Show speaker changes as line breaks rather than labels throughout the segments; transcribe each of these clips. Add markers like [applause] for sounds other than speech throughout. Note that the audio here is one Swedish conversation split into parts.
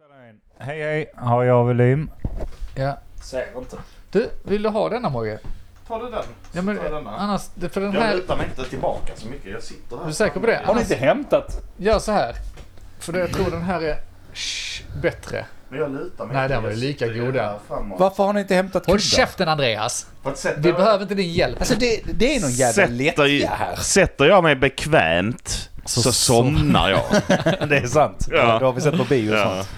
in. Hej hej, har jag volym?
Ja.
Ser inte.
Du, vill du ha denna Mogge?
Ta du den.
Ja, men
Ta denna.
annars, det- för den
Jag
här,
lutar mig inte tillbaka så mycket. Jag sitter här.
Du är säker på det?
Har ni inte hämtat?
gör så här. För det- jag tror den här är shh, bättre.
Men jag lutar mig
Nej,
inte.
den var ju
Jag
lika
sitter ju
god den.
här framåt.
Varför har ni inte hämtat
Håll
kuddar?
käften Andreas!
På ett sätt
Vi
där-
behöver inte din hjälp.
Alltså det, det är någon jävla
Sätter, ju-
lättja här.
sätter jag mig bekvämt så,
Så-
somnar jag.
Det är sant.
Ja.
Det har vi sett på bio och
Ja.
sånt.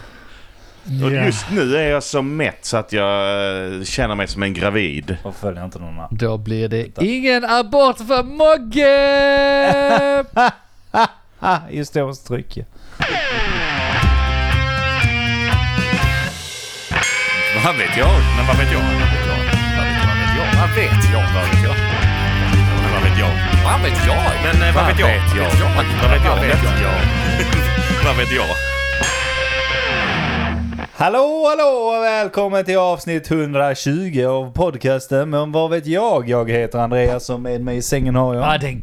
Och just nu är jag så mätt så att jag eh, känner mig som en gravid.
Och följer inte någon annan.
Då blir det ingen abort för Mogge!
Ah, just det, hon stryker.
Vad vet jag? Men vad vet jag? Vad vet jag? Vad vet jag? Vad vet jag? Men Vad vet jag? Vad vet jag? Men eh, vad vet jag? Vad vet jag? Vad vet jag? Vad vet jag?
Hallå, hallå och välkommen till avsnitt 120 av podcasten. Men vad vet jag? Jag heter Andreas och med mig i sängen har jag.
Ja, den...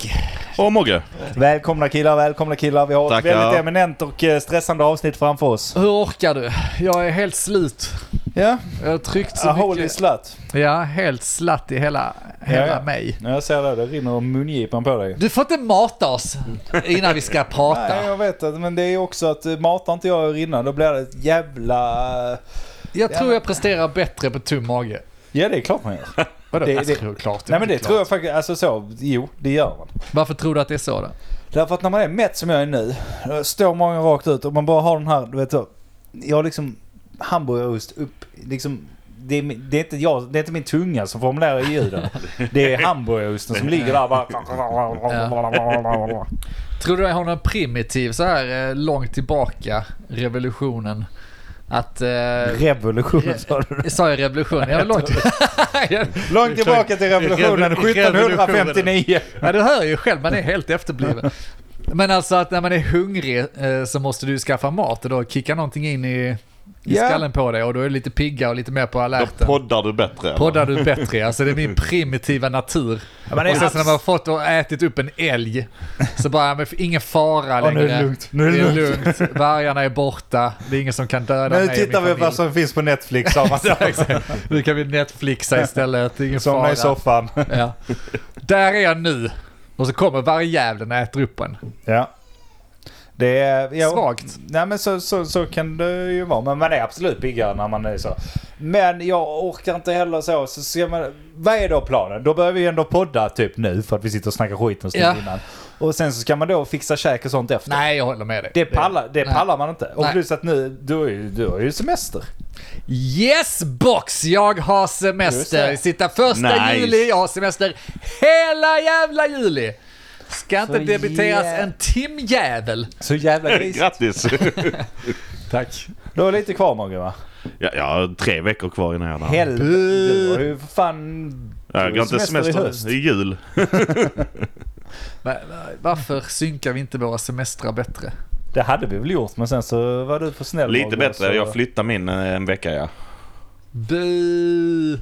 Och Mogge.
Välkomna killar, välkomna killar. Vi har ett
Tackar.
väldigt eminent och eh, stressande avsnitt framför oss.
Hur orkar du? Jag är helt slut.
Ja,
Jag har tryckt så
a holy
mycket.
slut.
Ja, helt slatt i hela, hela
Ja, ja.
mig.
Ja, Jag ser det, det rinner om mungipan på dig.
Du får inte mata oss innan vi ska
Nej,
prata.
jag vet att, men det är också att eh, matar inte jag rinnan då blir det ett jävla... eh,
Jag tror jag presterar bättre på tom mage.
Ja, det är klart man gör.
Vadå?
Det-
Det,
det-
tror klart.
Nej, men det
klart.
tror jag faktiskt. Alltså så, jo, det gör man.
Varför tror du att det är så då?
Därför att när man är mätt som jag är nu, då står många rakt ut och man bara har den här, du vet så. Jag har liksom hamburgerost upp, liksom. Det är, min- det, är inte jag, det är inte min tunga som formulerar ljuden. Det är hamburgerosten som ligger där bara... [laughs]
Eh, Tror du jag har någon primitiv så här eh, långt tillbaka, revolutionen? Att... Eh,
Revolution sa du.
sa jag revolution? [laughs] Jag är långt...
Långt tillbaka till revolutionen 1759.
ja, du hör ju själv, man är helt efterbliven. Men alltså att när man är hungrig eh, så måste du skaffa mat och då kickar någonting in i, i
Ja.
skallen på dig och då är du lite pigga och lite mer på
Då
alerten.
poddar du bättre. eller?
Poddar du bättre? Alltså det är min primitiva natur.
men det är
och sen så när
abs-
man har fått och ätit upp en älg så bara, ja, men ingen fara
Ja,
längre.
nu är det lugnt. Nu är det
lugnt. Vargarna är borta. Det är ingen som kan
Nu
döda mig och min
tittar vi på
familj.
vad som finns på Netflix sa man. [laughs]
Exakt. Nu kan vi Netflixa istället. Det är ingen
Somna
fara.
i soffan.
Ja. Där är jag nu. Och så kommer vargjäveln och äter upp en.
[laughs] Ja. Det är... Ja,
Svagt.
Nej men så, så, så kan det ju vara. Men man är absolut piggare när man är så. Men jag orkar inte heller så. så ska man, vad är då planen? Då börjar vi ju ändå podda typ nu för att vi sitter och snackar skit en stund
Ja.
innan. Och sen så ska man då fixa käk och sånt efter.
Nej, jag håller med dig.
Det pallar, det
Nej.
pallar man inte. Och
Nej.
plus att nu, du har ju, du har ju semester.
Yes box! Jag har semester.
Just
Sitta första
Nice.
juli, jag har semester hela jävla juli. Ska
Så
inte debiteras
jä-
en timjävel.
Så [laughs] jävla gris.
[laughs] Grattis!
Tack.
Du har lite kvar Mogge va?
Ja, jag har tre veckor kvar innan jag har
Helvete. Du har ju för fan...
Jag
du
har
har
inte
semester i
semester.
höst.
Det är jul.
Men, men, Varför synkar vi inte våra semestrar bättre?
Det hade vi väl gjort men sen så var du för snäll.
Lite
Mogge,
bättre.
så-
Jag flyttar min eh, en vecka ja.
Bu!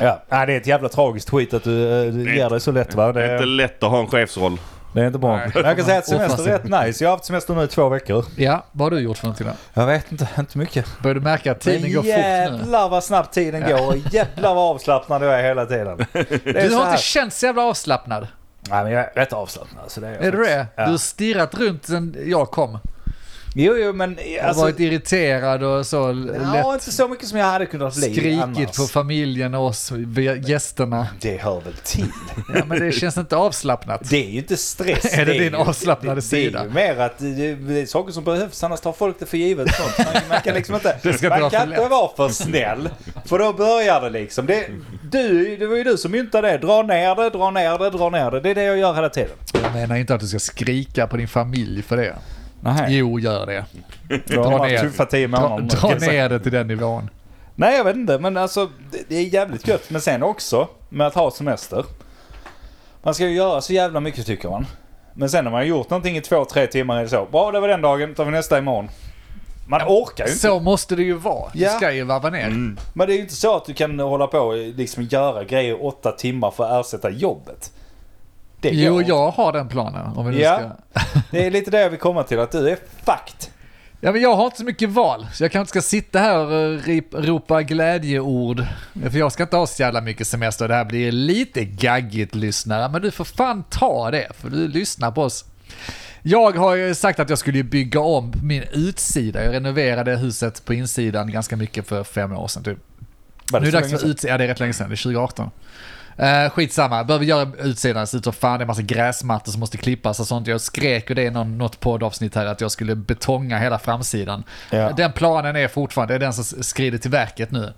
Ja, nej, det är ett jävla tragiskt skit att du eh, du
Det är
ger dig så lätt va?
Det är inte lätt att ha en chefsroll.
Det är inte bra.
Nej.
Men jag kan säga att semester är
Och
rätt nice. Jag har haft semester nu i två veckor.
Ja, vad har du gjort för någonting då?
Jag vet inte, inte mycket.
Börjar du märka att tiden går fort nu?
jävlar vad snabbt tiden går och jävlar vad avslappnad jag är
[laughs]
hela tiden. Det är
Du
så
har
här.
inte känt så jävla avslappnad.
Nej men jag är rätt avslappnad. Så det är jag
Är du
faktiskt.
det?
Ja.
Du har stirrat runt sen jag kom.
Jo jo men
Och
alltså.
varit irriterad och så. Lätt
Ja, inte så mycket som jag hade kunnat bli
skrikit
annars.
på familjen och oss, vi- gästerna.
Det hör väl till.
Ja, men det känns inte avslappnat.
Det är ju inte stress.
[laughs] Är det din
ju-
avslappnade
det, Det
sida?
är ju mer att det, det är saker som behövs, annars tar folk det för givet. och Sånt. Man, man kan liksom inte,
[laughs] Det ska inte
man
vara för
kan inte
lätt.
vara för snäll. För då börjar det liksom. Det, du, det var ju du som myntade det. Dra ner det, dra ner det, dra ner det. Det är det jag gör hela tiden.
[laughs] Jag menar inte att du ska skrika på din familj för det.
Nej,
Jo, gör det.
då har
dra
man
ner.
tuffa tio
Dra,
månader.
dra ner det till den nivån.
Nej, jag vet inte. Men alltså, det- det är jävligt gött. Men sen också, med att ha semester. Man ska ju göra så jävla mycket tycker man. Men sen när man har gjort någonting i två, tre timmar eller så. Bra, det var den dagen. tar vi nästa imorgon. Man orkar ju inte.
Så måste det ju vara. Du
Ja.
ska ju varva ner.
Mm.
Men det är ju inte så att du kan hålla på och liksom göra grejer åtta timmar för att ersätta jobbet. Det
Jo,
går.
jag har den planen. Om vi nu
Ja.
ska.
Det är lite det jag vill komma till. Att du är fucked.
Ja, men jag har inte så mycket val, så jag kanske ska sitta här och rip- ropa glädjeord. För jag ska inte ha så jävla mycket semester. Det här blir lite gaggigt lyssnare, men du får fan ta det, för du lyssnar på oss. Jag har ju sagt att jag skulle ju bygga om min utsida. Jag renoverade huset på insidan ganska mycket för fem år sedan typ.
Var
Nu är
så
det dags
länge
för
sedan?
utsidan, ja det är rätt länge sedan, det är 2018. Uh, skitsamma, behöver göra utsidan, så ut och fan det är massa gräsmattor som måste klippas och sånt. Jag skrek ju det i någon, något poddavsnitt här att jag skulle betonga hela framsidan.
Ja.
Den planen är fortfarande, det är den som skrider till verket nu.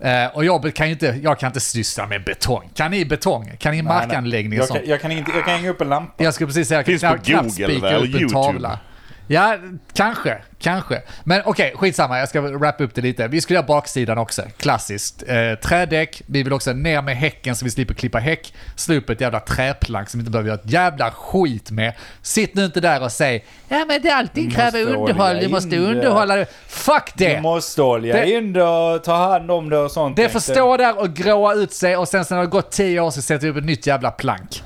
Eh, och jag be- kan ju inte, jag kan inte syssla med betong. Kan ni betong? Kan ni
Nej, nej.
markanläggning och
jag
sånt?
kan, jag, kan inte, jag kan hänga upp en lampa.
Jag skulle precis säga, jag kan
Finns på
knappt- knappt
Google,
spika
väl?
upp en
YouTube.
tavla. Ja, kanske, kanske. Men okej, skitsamma, jag ska wrappa upp det lite. Vi skulle göra baksidan också, klassiskt. Eh, trädäck, vi vill också ner med häcken så vi slipper klippa häck. Slå upp ett jävla träplank som vi inte behöver göra ett jävla skit med. Sitt nu inte där och säg ja men det är alltid
Du
kräver
måste
underhåll,
olja
du måste
in det."
underhålla det. Fuck det!
Du måste olja
Det-
in det och ta hand om det och sånt.
Det får
tänkte jag.
stå där och gråa ut sig och sen, sen har det gått tio år så sätter vi upp ett nytt jävla plank.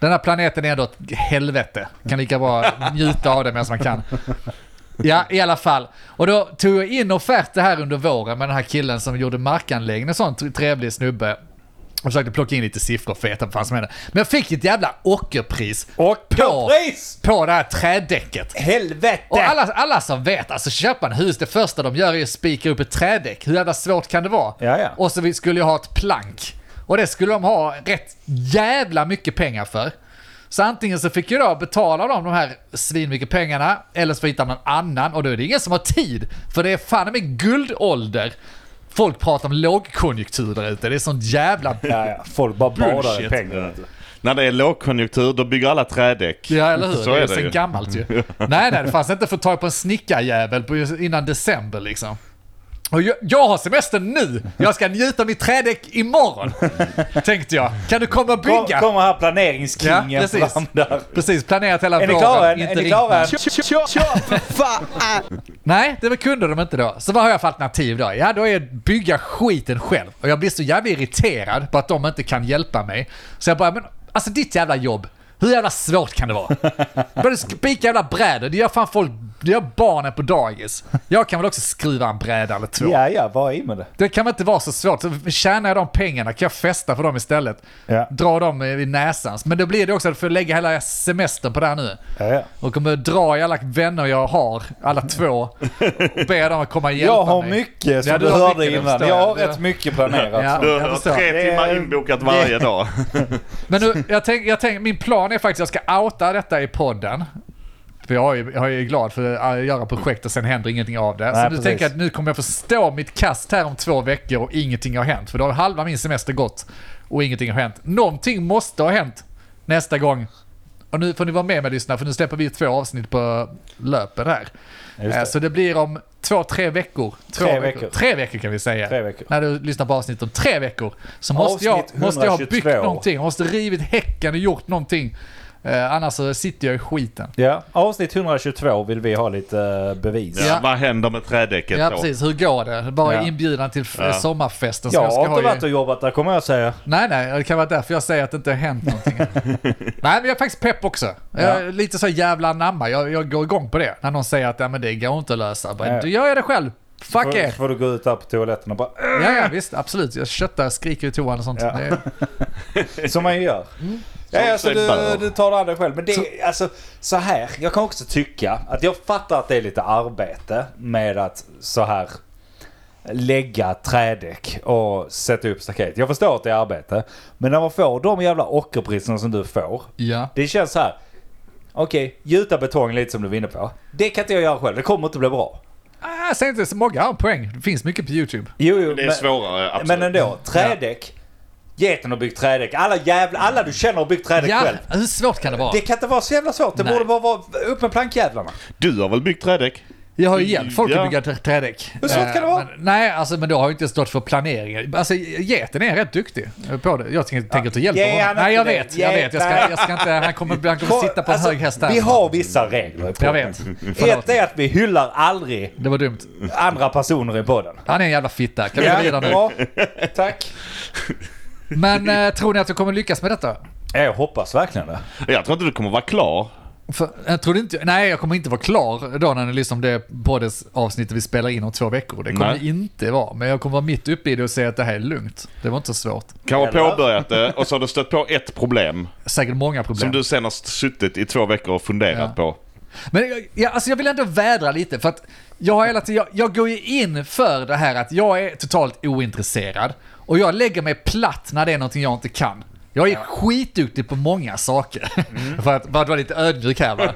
Den här planeten är ändå ett helvete. Kan lika bra njuta av det medan man kan. Ja, i alla fall. Och då tog jag in offerter här under våren med den här killen som gjorde markanläggning och sånt. Trevlig snubbe. Och försökte plocka in lite siffror för att veta vad fan som hände. Men jag fick ett jävla ockerpris
Och
på,
pris!
på det här trädäcket.
Helvete!
Och alla, alla som vet, alltså köpa en hus, det första de gör är att spika upp ett trädäck. Hur jävla svårt kan det vara?
Ja, ja.
Och så vi skulle ju ha ett plank. Och det skulle de ha rätt jävla mycket pengar för. Så antingen så fick ju då betala dem de här svinmycket pengarna, eller så hittar man en annan och då är det ingen som har tid. För det är fan med guldålder. Folk pratar om lågkonjunktur där ute, det är sånt jävla...
Ja, ja. Folk bara badar i
Bullshit.
pengar. vet du.
När det är lågkonjunktur då bygger alla trädäck.
Ja, eller hur?
Så är
det är
det
sen
ju.
gammalt
[laughs]
ju. Nej, nej, det fanns inte för tag på en snickarjävel på- innan december liksom. Och jag, jag har semester nu! Jag ska njuta av mitt trädäck imorgon! Tänkte jag. Kan du komma och
Kom,
bygga?
kommer här planeringskingen
Ja, precis.
fram där.
Precis, planerat hela
Är ni
våren.
klara än?
inte
Är ni
ringt
klara än?
någon. Nej, det kunde de inte då. Så vad har jag för alternativ då? Ja, då är att bygga skiten själv. Och jag blir så jävla irriterad på att de inte kan hjälpa mig. Så jag bara, men alltså ditt jävla jobb. Hur jävla svårt kan
[laughs]
det vara? Börjar du spika jävla brädor? Det gör fan folk, det gör barnen på dagis. Jag kan väl också skruva en bräda eller två.
Ja, ja, vad är med det?
Det kan väl inte vara så svårt? Så Tjänar jag de pengarna kan jag festa för dem istället.
Ja.
Dra dem i näsan. Men då blir det också att jag får lägga hela semestern på det här nu.
Ja, ja.
Och kommer dra i alla vänner jag har, alla två, och be dem att komma och hjälpa
Jag har
mig.
mycket som
Ja,
du,
har
hörde
mycket, det
innan.
förstår
Jag har
Det-
rätt mycket planerat.
Ja.
Ja.
Du
jag
har
förstår.
tre
Det är-
timmar inbokat varje dag.
Men nu, jag tänk, jag tänk, min plan är faktiskt att jag ska outa detta i podden. För jag är, ju- jag är ju glad för att äh, göra projekt och sen händer ingenting av det.
Nej,
så nu
precis.
tänker jag att nu kommer jag få stå mitt kast här om två veckor och ingenting har hänt. För då har halva min semester gått och ingenting har hänt. Någonting måste ha hänt nästa gång. Och nu får ni vara med mig lyssna för nu släpper vi två avsnitt på löpen här.
Just
Eh,
det.
Så det blir om två, tre veckor. Två
Tre veckor.
Tre veckor kan vi säga.
Tre veckor.
När du lyssnar på avsnitt om tre veckor. Så måste jag,
Avsnitt
måste jag ha
122.
byggt någonting. Jag måste rivit häcken och gjort någonting. Eh, annars så sitter jag i skiten.
Avsnitt 122 vill vi ha lite eh, bevis.
Ja.
Ja.
Vad händer med trädäcket
Ja
då?
precis, hur går det? Bara
Ja.
inbjudan till f-
Ja.
sommarfesten som
Jag
jag
har
ska
inte
ha
varit
ju.
och jobbat där kommer jag säga.
Nej nej, det kan vara därför jag säger att det inte har hänt någonting.
[laughs]
nej men jag är faktiskt pepp också. Jag är lite så jävla anamma, jag, jag går igång på det. När någon säger att ja, men det går inte att lösa. Jag Bara,
Nej.
Då gör jag det själv. Fuck
Så
er!
får du gå ut där på toaletten och bara...
Ja, ja visst, absolut. Jag köttar, skriker i toan och sånt.
Ja.
Det är-
Som man ju gör. Ja, alltså,
sig bör.
du, du tar det an dig själv. Men det är alltså så här. Jag kan också tycka att jag fattar att det är lite arbete med att så här lägga trädäck och sätta upp staket. Jag förstår att det är arbete. Men när man får de jävla ockerpriserna som du får.
Ja.
Det känns så här. Okej, gjuta betong lite som du var inne på. Det kan inte jag göra själv. Det kommer inte bli bra.
Ah, säg inte så många har en poäng. Det finns mycket på YouTube.
Jo, jo,
Det är
men-
svårare, absolut.
Men ändå, trädäck. Geten har byggt trädäck. Alla jävla, alla du känner har byggt trädäck
Ja,
själv.
hur svårt kan det vara?
Det kan inte vara så jävla svårt. Det
Nej.
borde bara vara upp med plankjävlarna.
Du har väl byggt trädäck?
Jag har ju hjälpt folk
Ja.
att bygga trä- trädäck.
Hur svårt kan det
Eh,
vara?
Men, nej, alltså, men då har jag inte stått för planeringen. Alltså, geten är rätt duktig på det. Jag tänker tänker att du hjälper
ge han
honom.
inte
Nej, jag
det.
vet. Jag
Ge-
vet. Jag ska,
nej.
jag ska inte... Han kommer, han kommer sitta på en
Alltså,
hög häst där.
Vi har vissa regler i
Jag
podden.
vet.
Ett
Förlåt.
är att vi hyllar aldrig
Det var dumt.
andra personer i podden.
Han är en jävla fitta. Kan vi gå vidare nu?
bra. Tack.
Men eh, tror ni att du kommer lyckas med detta?
Jag hoppas verkligen det.
Jag tror inte du kommer vara klar.
För, jag trodde inte, nej, jag kommer inte vara klar då när ni lyssnar om det poddens avsnittet vi spelar in om två veckor. Det kommer
Nej.
jag inte vara, men jag kommer vara mitt uppe i det och säga att det här är lugnt. Det var inte så svårt.
Kan ha
Eller?
påbörjat det och så har du stött på ett problem.
Säkert många problem.
Som du sen har suttit i två veckor och funderat
Ja.
på.
Men jag- jag, alltså jag vill ändå vädra lite för att jag har hela tiden, jag, jag går ju in för det här att jag är totalt ointresserad och jag lägger mig platt när det är någonting jag inte kan. Jag är skitduktig på många saker.
Mm.
[laughs] för att bara vara lite ödmjuk
[laughs]
här va.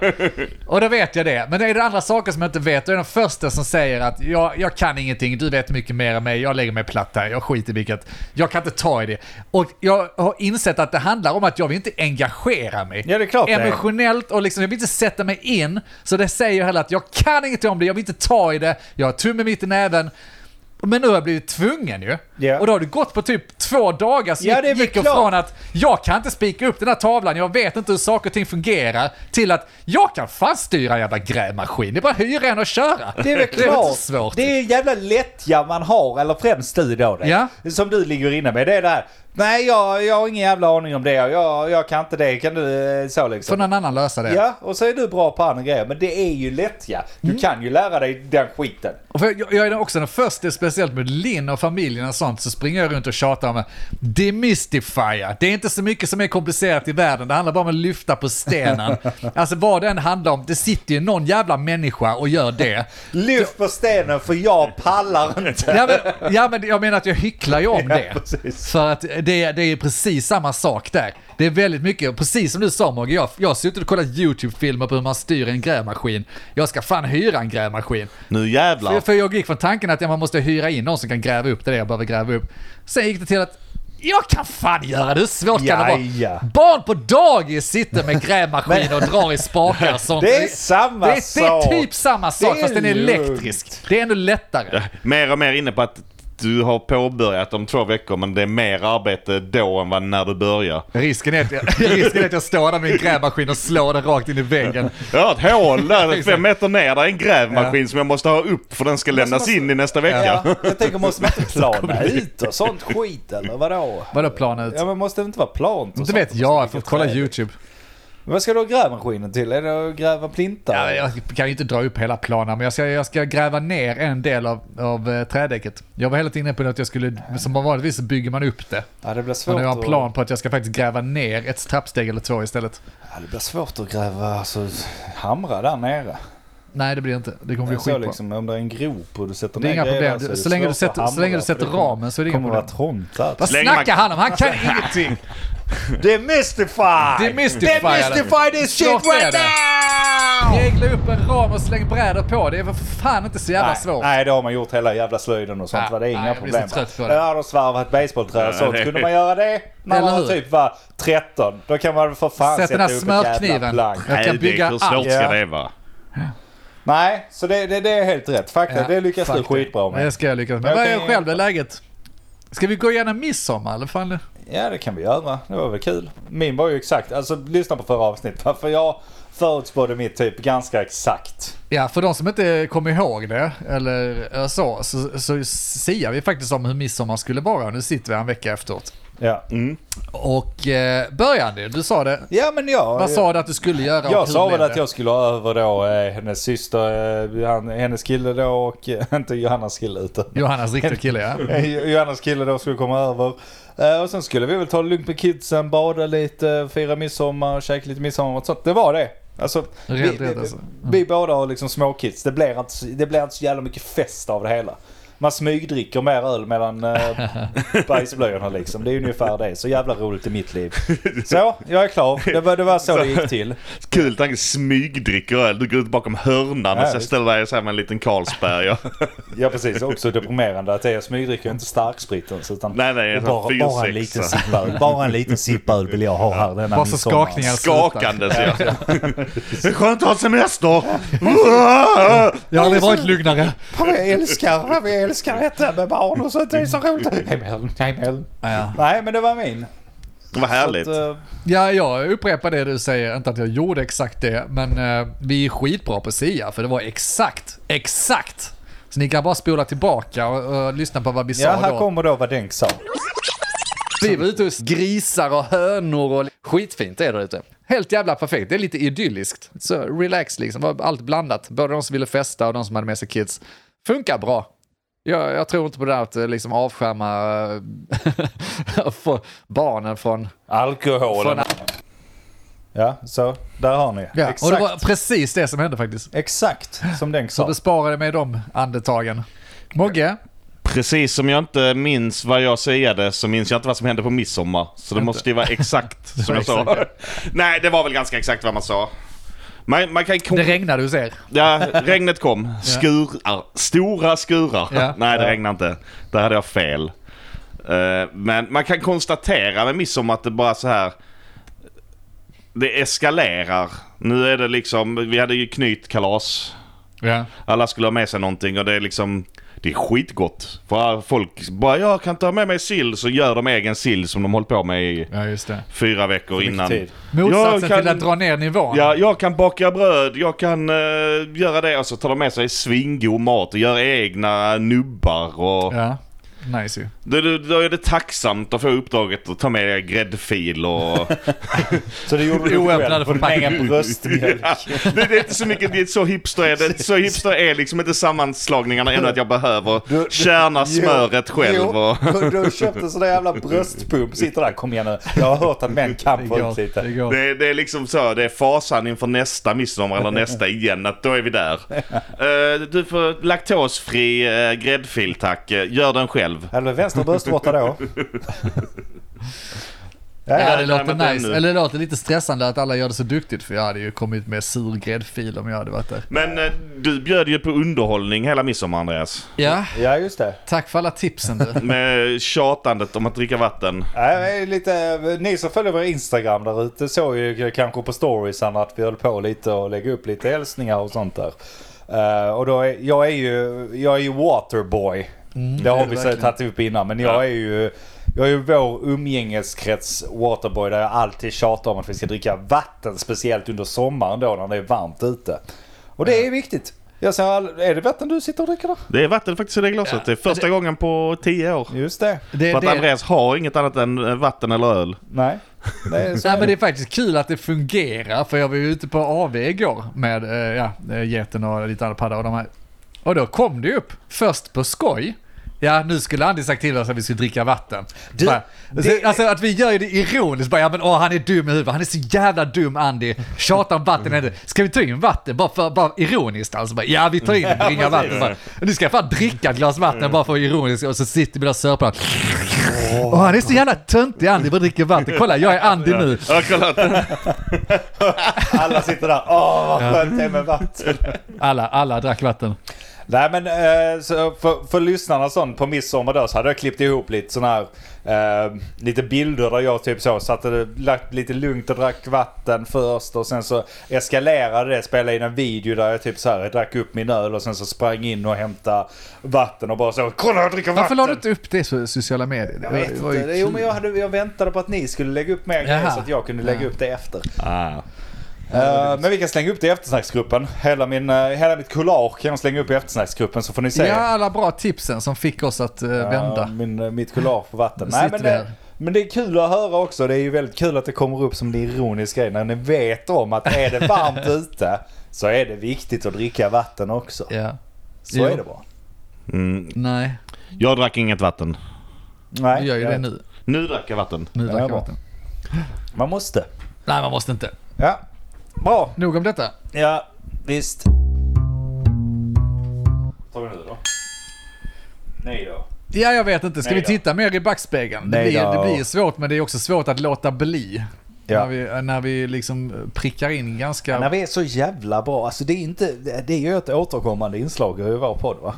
Och då vet jag det. Men är det andra saker som jag inte vet, då är jag den första som säger att jag, jag kan ingenting, du vet mycket mer än mig, jag lägger mig platt här, jag skiter i vilket. Jag kan inte ta i det. Och jag har insett att det handlar om att jag vill inte engagera mig
Ja, det är klart det är.
emotionellt och liksom, jag vill inte sätta mig in. Så det säger jag heller att jag kan inget om det, jag vill inte ta i det, jag har tummen mitt i näven. Men nu har jag blivit tvungen ju.
Ja.
Och då har det gått på typ två dagar som
Ja,
gick-
det är väl
gick och
klart.
från att jag kan inte spika upp den här tavlan, jag vet inte hur saker och ting fungerar, till att jag kan fan styra en jävla grävmaskin. Det är bara att hyra en och köra.
Det är väl
[laughs] Det är
klart.
inte så svårt.
Det är en jävla lättja man har, eller främst du då det.
Ja.
Som du ligger inne med. Det är det här. Nej, jag, jag har ingen jävla aning om det. Jag, jag kan inte det. Kan du eh, så
Får
liksom?
någon annan lösa det.
Ja, och så är du bra på andra grejer. Men det är ju lättja. Du
Mm.
kan ju lära dig den skiten.
Och för jag, jag är också den första, speciellt med Linn och familjen och sånt, så springer jag runt och tjatar om demystifia. Det är inte så mycket som är komplicerat i världen, det handlar bara om att lyfta på stenen.
[laughs]
Alltså vad den handlar om, det sitter ju någon jävla människa och gör det.
Lyft på stenen för jag pallar inte.
Ja men, ja, men jag menar att jag hycklar ju om
Ja,
det.
precis.
För att det, det är precis samma sak där. Det är väldigt mycket, precis som du sa Mogge, jag, jag har suttit och kollat YouTube-filmer på hur man styr en grävmaskin. Jag ska fan hyra en grävmaskin.
Nu jävlar.
För, för jag gick från tanken att ja, man måste hyra in någon som kan gräva upp det där jag behöver gräva upp. Sen gick det till att jag kan fan göra det, hur svårt kan det vara?
Jaja.
Barn på dagis sitter med grävmaskiner och drar i
[laughs]
spakar och sånt.
Det är samma
det, är, det är
sak.
typ samma sak
Det är
fast den är
lugnt.
elektrisk. Det är ännu lättare.
Mer och mer inne på att du har påbörjat om två veckor men det är mer arbete då än vad när du börjar.
[laughs] Risken är, att [laughs] jag, risken är att jag står där med en grävmaskin och slår den rakt in i väggen.
Jag har ett
[laughs]
hål där
Exakt.
fem meter ner. Där är en grävmaskin som jag måste ha upp för den ska lämnas in i nästa vecka.
Ja, jag tänker måste man
[laughs]
inte plana ut och sånt skit eller vadå?
Vadå plana ut?
Ja men måste det inte vara plant och
Inte
sånt?
vet jag, jag får
Vilket
kolla
träd.
YouTube.
Men Vad ska du ha grävmaskinen till? Är det att gräva plintar?
Ja, jag kan ju inte dra upp hela planen, men jag ska, jag ska gräva ner en del av, av eh, trädäcket. Jag var helt inne på att jag skulle, som vanligtvis så bygger man upp det.
Ja, det blir
Men
svårt
nu har jag en
att-
plan på att jag ska faktiskt gräva ner ett trappsteg eller två istället.
Ja, det blir svårt att gräva, alltså hamra där nere.
Nej, det blir inte. Det kommer bli
Jag
skitbra.
såg liksom, om det är en grop och du sätter
Det
ner
är inga
grejer
problem.
där är
Du-
det
så länge du
svårt att
sätter- så länge du
hamra,
sätter
för det kommer-
ramen så är det inga
kommer vara
problem.
trångt där.
Vad
Slänger man-
snackar han om? Han
[laughs]
kan ingenting!
Demystify!
Demystify,
Demystify this shit
Klart är
right
det.
now!
Regla upp en ram och släng brädor på. Det är för fan inte så jävla
Nej,
svårt.
nej, det har man gjort hela jävla slöjden och sånt.
Ja,
va? det är inga
nej, jag blir så
problem.
trött på det.
Ja, de svarvat basebollträ och sånt.
det-
Kunde man göra det när
Eller
man
hur?
typ var 13? Då kan man för fan
Sätt den
sätta
här
upp ett jävla
smörkniven.
plank.
Jag kan
[laughs] Nej, det,
bygga
hur svårt
allt.
ska
Ja.
det vara?
Nej, så det, det, det är helt rätt. Fakta, det lyckas
fuck
du skitbra
Det
med.
ska jag lyckas med.
Jag
Vad
kan
är
ju-
själv det läget? Ska vi gå igenom midsommar eller fan?
Ja, det kan vi göra. Det var väl kul. Min var ju exakt. Alltså, lyssna på förra avsnittet. va? För jag förutspådde mitt typ ganska exakt.
Ja, för de som inte kommer ihåg det eller eh, så, så, så siar vi faktiskt om hur midsommar skulle vara. Nu sitter vi här en vecka efteråt.
Ja,
Mm. Och eh, började, du sa det.
ja men jag...
Vad sa du att du skulle göra? och
Jag
hur
sa väl
blev
att
det?
jag skulle ha över då eh, hennes syster, eh, han, hennes kille då och [laughs] eh, inte Johannas kille utan
Johannas riktiga kille, ja.
Eh, Johannas kille då skulle komma över. Eh, Och sen skulle vi väl ta det lugnt med kidsen, bada lite, fira midsommar, käka lite midsommar och sånt. Det var det. Alltså, vi,
Rätt, rätt, alltså.
vi, vi båda har liksom småkids. Det blir, inte, så- det blir inte så jävla mycket fest av det hela. Man smygdricker mer öl mellan
[laughs]
eh, bajsblöjorna liksom. Det är ungefär det. Så jävla roligt i mitt
[laughs]
liv. Så, jag är klar. Det var, det var så det gick till.
Kul tanke, smygdricker öl. Du går ut bakom hörnan och
Ja,
så
visst.
ställer dig så här med en liten
[laughs]
Carlsberg. och-
Ja precis, också deprimerande att det är smygdricker inte starksprit ens utan
Nej, nej,
och
en
bara,
fyr,
bara, en
sexa.
liten sippöl, bara en liten sippöl vill jag ha här denna
Bara så
midsommar.
skakningar slutar.
Skakande ser jag. [laughs] Det är skönt att ha semester! Uah! [laughs]
Jag har aldrig varit lugnare.
Vad vi älskar, vad vi älskar detta med barn och sånt, det är så roligt. Himmel, himmel.
Ja.
Nej men det var min.
Vad härligt.
Så att, eh,
Ja, jag upprepar det du säger. Inte att jag gjorde exakt det, men eh, vi är skitbra på SIA, för det var exakt, exakt. Så ni kan bara spola tillbaka och, och lyssna på vad vi
ja
sa
här
då.
kommer då vad Denk sa.
Vi var ute hos grisar och hönor och skitfint är det där ute.
Helt jävla perfekt. Det är lite idylliskt. Så relax liksom. Var Allt blandat. Både de som ville festa och de som hade med sig kids. Funkar bra. Jag, jag tror inte på det där att eh, liksom avskärma eh, [laughs] få barnen från...
Alkoholen.
från
Ja, så där har ni.
ja.
Exakt,
Och det var precis det som hände faktiskt.
exakt som den
Så
sa.
besparade mig de andetagen. Mogge,
Precis som jag inte minns vad jag sägade så minns jag inte vad som hände på midsommar. Så det måste ju vara exakt som jag sa. Nej, det var väl ganska exakt vad man sa. Man, man kan
det regnade hos er.
Ja, regnet kom. Skurar. Stora skurar.
Ja.
Nej, det
Ja.
regnade inte. Där hade jag fel. Eh, Men man kan konstatera med midsommar att det bara så här... Det eskalerar. Nu är det liksom... Vi hade ju knytkalas.
Ja.
Alla skulle ha med sig någonting och det är liksom... Det är skitgott. För folk bara jag kan ta med mig sill så gör de egen sill som de hållit på med i
ja, just det.
fyra veckor innan.
tid.
Motsatsen
Jag kan-
till att dra ner nivån.
Ja, jag kan baka bröd, jag kan eh, göra det. Och så tar de med sig svingod mat och gör egna nubbar. Och
Ja. Nice ju.
då, då, då är det tacksamt att få uppdraget att ta med
[laughs]
gräddfil och...
Så det gjorde du
Oöppnade
själv på din
förpackningar.
egen bröstmjölk.
[laughs] ja, det, det är inte så mycket, det är så hipster är det. Så hipster är liksom inte sammanslagningarna ännu att jag behöver
Du- du-
kärna smöret själv och...
Jo, du, du köpte sådana jävla bröstpump. Sitter där, kom igen nu. Jag har hört att män kan få ut
det
lite.
går.
Det, det är liksom så, det är fasan inför nästa midsommar eller nästa igen, att då är
[laughs]
vi där. Eh, du får laktosfri eh, gräddfil tack, Eh, gör den själv.
Eller vänster bröstvårta då. Ja,
Ja,
ja.
det
nej,
låter
men den
nice.
nu.
Eller det låter lite stressande att alla gör det så duktigt för jag hade ju kommit med sur gräddfil om jag hade varit där.
Men eh, du bjöd ju på underhållning hela midsommar Andreas.
Ja,
ja, just det.
tack för alla [laughs] tipsen du.
Med tjatandet om att dricka vatten.
Ja, det är lite, ni som följer vår Instagram där ute såg ju kanske på storiesen att vi höll på lite och lägga upp lite hälsningar och sånt där. Eh, och då är, jag är ju, jag är ju waterboy. det
Mm. det
har
är
vi
du
så-
verkligen.
tagit upp innan. Men jag är ju, jag är ju vår umgängeskrets waterboy där jag alltid tjatar om att vi ska dricka vatten. Speciellt under sommaren då när det är varmt ute. Och det är viktigt. Jag säger, all- är det vatten du sitter och dricker där?
Det är vatten faktiskt i det glaset.
Ja.
Det är första gången på tio år.
Just det.
Det,
För att
det,
Andreas har inget annat än eh, vatten eller öl.
Nej. Nej,
[laughs]
så
Nej,
är
men
det.
det är faktiskt kul att det fungerar för jag var ju ute på AV igår med eh, ja, eh, geten och lite andra paddor och de här. Och då kom det ju upp, först på skoj. Ja, nu skulle Andy sagt till oss att vi skulle dricka vatten.
Du,
bara,
det-
Alltså att vi gör ju det ironiskt. Bara, ja, men, åh, han är dum i huvudet. Han är så jävla dum, Andy. Tjatar om vatten. Andy. Ska vi ta in vatten? Bara, för, bara ironiskt alltså. Bara, ja, vi tar in och bringar vatten. Bara, nu ska jag fan dricka ett glas vatten bara för att vara ironisk. Och så sitter vi där och sörplar. Åh, han är så jävla töntig, Andy. Bara dricker vatten. Kolla, jag är Andy nu.
Ja,
[laughs]
kolla.
Alla sitter där. Åh, vad skönt det är med vatten.
Alla, alla drack vatten.
Nej men eh, så för, för lyssnarna och sånt på midsommar då så hade jag klippt ihop lite sådana här eh, lite bilder där jag typ så satte det lagt lite lugnt och drack vatten först och sen så eskalerade det. Spelade in en video där jag typ så här drack upp min öl och sen så sprang in och hämtade vatten och bara så kolla jag dricker
Varför
vatten.
la du inte upp det på sociala medier?
Jag vet
var ju
inte. Det- Jo
kul.
men jag, hade, jag väntade på att ni skulle lägga upp mer grejer
Jaha.
så att jag kunde lägga
Ja.
upp det efter.
Ah.
Eh, men vi kan slänga upp det i eftersnacksgruppen. Hela, min, eh, hela mitt collage kan jag slänga upp i eftersnacksgruppen så får ni se.
Ja, alla bra tipsen som fick oss att eh,
Ja,
vända.
min, mitt collage på vatten.
Nu
Nej,
sitter
men,
vi
det,
här.
men det är kul att höra också. Det är ju väldigt kul att det kommer upp som en ironisk grej när ni vet om att är det varmt
[laughs]
ute så är det viktigt att dricka vatten också.
Ja.
Så
Jo.
är det bara.
Mm.
Nej,
Jag drack inget vatten.
Nej,
du gör ju
jag
det
vet.
nu.
Nu drack jag vatten.
Nu
Ja,
drack jag
bra.
vatten.
Man måste.
Nej, man måste inte.
Ja, bra.
Nog om detta.
Ja, visst.
Tar vi nu då?
Nej då.
Ja, jag vet inte. Ska
Nej
vi
då.
titta mer i backspegeln? Det
Nej
blir,
då.
det blir svårt, men det är också svårt att låta bli.
Ja.
När, vi, när vi liksom prickar in ganska...
När vi är så jävla bra. Alltså det är inte, det är ju ett återkommande inslag i vår podd va?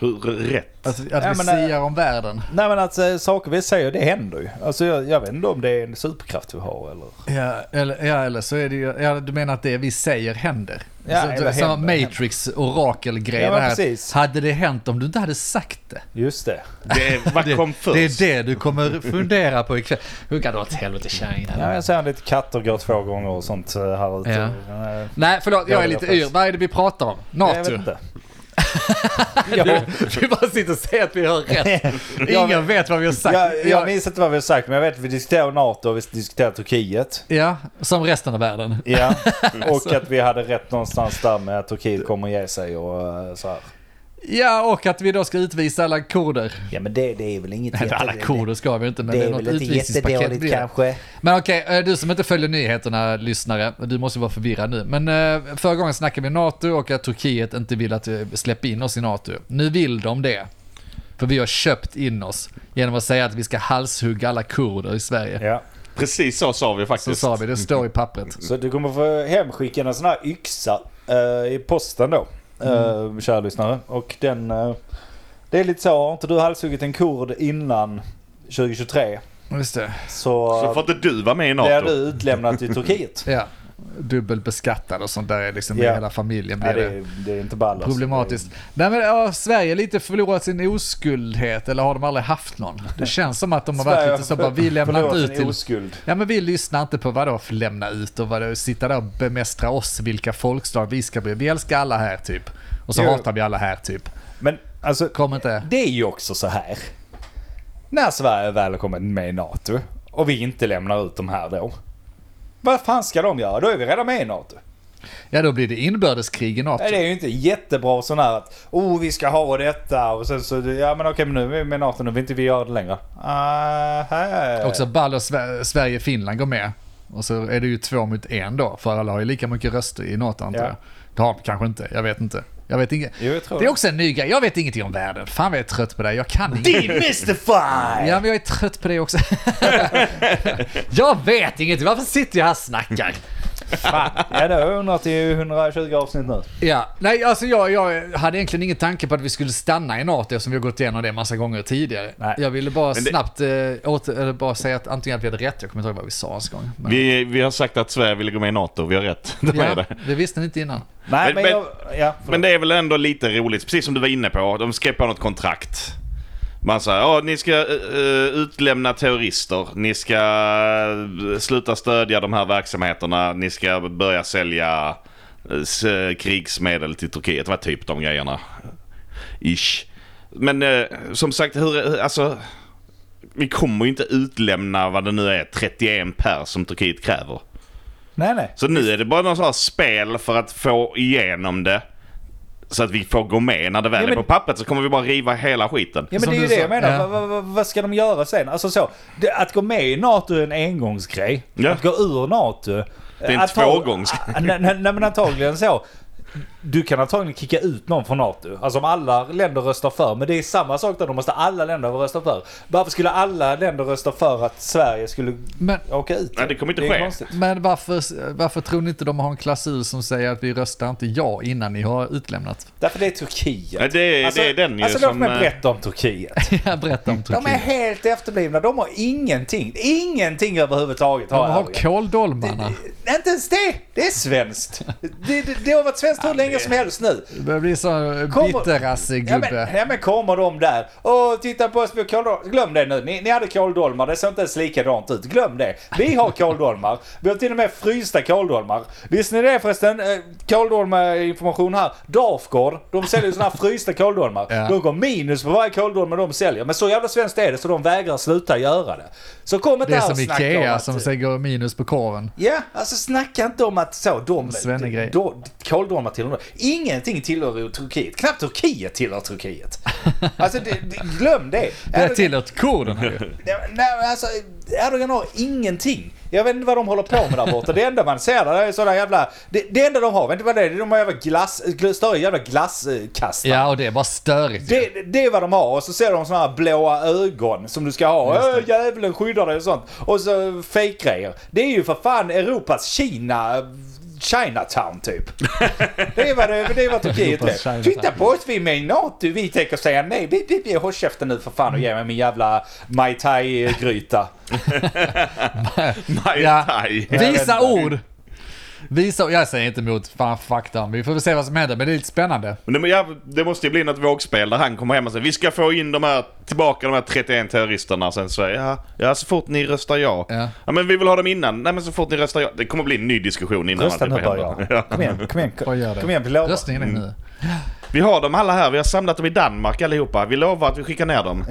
Hur rätt?
Att, att
Ja,
vi
men, äh,
siar om världen.
Nej men alltså saker vi säger det händer ju. Alltså jag, jag vet inte om det är en superkraft vi har eller.
Ja eller, ja, eller så är det ju... Ja, du menar att det vi säger händer?
Ja,
så,
eller
samma
händer, händer.
Matrix orakelgrej.
Ja,
det
men
här att
precis.
Hade det hänt om du inte hade sagt det?
Just det.
Det, är- vad kom först?
[laughs] Det är det du kommer fundera på ikväll. Hur kan det vara åt helvete kärringen?
Ja, jag ser lite katter går två gånger och sånt eh, här ute.
Ja. Nej, förlåt. Jag är lite yr. Vad är det vi pratar om? [laughs]
Ja. Jag vet
NATO.
inte. Jag,
Vi bara sitter och säger att vi har
[laughs]
rätt.
Jag-
Ingen vet vad vi har sagt.
jag, jag
Jag-
minns inte vad vi har sagt, men jag vet att vi diskuterade NATO och vi diskuterade Turkiet.
Ja, som resten av världen. [laughs]
Ja,
Alltså.
och att vi hade rätt någonstans där med att Turkiet kommer ge sig och eh, så här.
Ja, och att vi då ska utvisa alla kurder.
Ja men det, det är väl inget
Nej, alla kurder ska vi inte, men det är, något utvisningspaket. blir det.
kanske.
Men okej, eh, du som inte följer nyheterna, lyssnare, du måste vara förvirrad nu. Men eh, förra gången snackade vi NATO och att Turkiet inte vill att vi släpper in oss i NATO. Nu vill de det. För vi har köpt in oss genom att säga att vi ska halshugga alla kurder i Sverige.
Ja.
Precis så sa vi
Så
faktiskt.
sa vi, det står i pappret.
Så du kommer få hemskickad en sån här yxa eh, i posten då, mm. kära lyssnare. Och den, eh, det är lite så, har inte du halshuggit en kurd innan 2023
Just det.
så,
Så får inte du vara med i
blir
NATO.
du utlämnad till Turkiet.
Ja. Dubbelbeskattad och sånt där är liksom
Ja.
hela familjen blir
Nej,
[laughs] det.
det, är, det är inte ball alltså.
Problematiskt. Nej men har Sverige lite förlorat sin oskuldhet eller har de aldrig haft någon? Det känns som att de har varit
Sverige
lite så bara, vi lämnar inte
förlorat
ut
sin
till...
oskuld.
Ja men vi lyssnar inte på vad då för lämna ut och vad då, sitta där och bemästra oss, vilka folkslag vi ska bli. Vi älskar alla här typ. Och så
Jo.
hatar vi alla här typ.
Men alltså,
Kom inte.
det är ju också så här. När Sverige väl har kommit med i NATO och vi inte lämnar ut de här då. Vad fan ska de göra? Då är vi redan med i NATO.
Ja då blir det inbördeskrig i NATO.
Nej, det är ju inte jättebra sån här att oh vi ska ha detta och sen så ja men okej men nu är vi med i NATO nu vill inte vi göra det längre. Ah, hej.
Också ball och Sve- Sverige och Finland går med. Och så är det ju två mot en då, för alla har ju lika mycket röster i NATO antar
Ja.
jag. Det har de kanske inte, jag vet inte. Jag vet inget.
Jo, jag tror
Det är
det.
också en ny grej, jag vet ingenting om världen. Fan vad jag är trött på det här. jag kan ingenting.
Demystify!
Ja, men jag är trött på det också. [laughs] jag vet ingenting, varför sitter jag här och snackar?
Fan. Ja det har jag undrat i 120 avsnitt nu.
Ja, nej alltså jag, jag hade egentligen ingen tanke på att vi skulle stanna i NATO eftersom vi har gått igenom det massa gånger tidigare.
Nej.
Jag ville bara
Men det-
snabbt eh, åter, eller bara säga att antingen att vi hade rätt, jag kommer inte ihåg vad vi sa ens en gång. Men,
Vi, vi har sagt att Sverige ville gå med i NATO, vi har rätt. [laughs] Det var
ja,
det.
det visste ni inte innan.
Nej men,
Men- men-
jag, ja, förlåt.
Men det är väl ändå lite roligt, precis som du var inne på. De skrev på något kontrakt. Man säger ja ni ska eh, eh, utlämna terrorister, ni ska eh, sluta stödja de här verksamheterna, ni ska börja sälja eh, s- krigsmedel till Turkiet. Vad typ de grejerna. Ish. Men eh, som sagt, hur, alltså, vi kommer ju inte utlämna vad det nu är, 31 per som Turkiet kräver.
Nej nej.
Så nu är det bara någon sån här spel för att få igenom det. Så att vi får gå med. När det väl
Ja, men-
är på pappret så kommer vi bara riva hela skiten.
Ja men
Som
det är
du
ju det
sa,
jag menar.
ja.
Vad- vad- vad- vad ska de göra sen? Alltså så, det, att gå med i NATO är en engångsgrej.
Ja.
Att gå ur NATO. Det
är en tvågångsgrej.
[laughs] Nej nej, nej, men antagligen så. Du kan antagligen kicka ut någon från NATO. Alltså om alla länder röstar för. Men det är samma sak där, då måste alla länder rösta för. Varför skulle alla länder rösta för att Sverige skulle
Men,
åka ut?
Nej, det kommer inte
är
ske.
konstigt.
men varför, varför tror ni inte de har en klausul som säger att vi röstar inte ja innan ni har
[laughs]
utlämnat?
Därför det är Turkiet.
Ja, det är- det är den ju
alltså, låt
som,
mig
eh,
berätta om
[laughs]
Turkiet.
Ja, berätta om
De är
Turkiet.
helt efterblivna. De har ingenting. Ingenting överhuvudtaget har
De har
övriga.
kåldolmarna.
Nej, Inte ens det! Det är svenskt. Det, det, det har varit svenskt hur länge som helst nu.
Det börjar bli så
Kommer-
bitterrassig
Ja men,
gubbe.
ja men kommer de där och titta på oss med kåldolmar. Glöm det nu. Ni, ni hade kåldolmar. Det såg inte ens likadant ut. Glöm det. Vi har kåldolmar. Vi har till och med frysta kåldolmar. Visste ni det förresten? Eh, Kåldolmarinformation här. Dafgård, de säljer ju sådana här frysta kåldolmar.
Ja.
De går minus på varje kåldolme de säljer. Men så jävla svenskt är det så de vägrar sluta göra det. Så kom inte
Det är
här och
som
snacka om
Ikea
att-
som säger minus på korven.
Ja, alltså snacka inte om att så, de...
Svennegrej.
de- Kåldolmar tillhör... Ingenting tillhör ju Turkiet. Knappt Turkiet tillhör
[laughs]
Turkiet. Alltså, det, det, glöm det.
Det är
Erdogan-
tillhört kurderna
[laughs]
ju.
Nej, nej, men alltså, Erdogan har ingenting. Jag vet inte vad de håller på med där borta. Det enda man ser där är sådana jävla... Det, det enda de har, vet inte vad det är? De har jävla glass... gl- Större jävla glasskastare.
Ja, och det är bara störigt. ju.
Det, det är vad de har och så ser de såna här blåa ögon som du ska ha. Äh, djävulen skyddar dig och sånt. Och så fejkgrejer. Det är ju för fan Europas Kina... Chinatown [laughs] typ. det är vad, det, det är vad Turkiet
Europas
är.
Chinatown.
Titta på oss, vi är med i NATO. Vi tänker säga nej. Vi, vi, vi, håll käften nu för fan och ge mig min jävla Mai Tai-gryta.
Maj
Ja.
Thai.
Visa
Jag vet inte.
ord! Visa Jag säger inte emot. Fan, fuck them. Vi får väl se vad som händer, men det är lite spännande.
Men det, ja, det måste ju bli något vågspel där han kommer hem och säger vi ska få in de här, tillbaka de här 31 terroristerna. Sen säger ja, ja så fort ni röstar ja.
Ja.
men vi vill ha dem innan. Nej men så fort ni röstar ja. Det kommer bli en ny diskussion innan
Rösta
allt är
nu
på
bara
hemma.
jag. Kom igen, kom igen.
Vad gör det?
Kom igen, vi lovar.
Röstningen är nu.
Vi har dem alla här. Vi har samlat dem i Danmark allihopa. Vi lovar att vi skickar ner dem.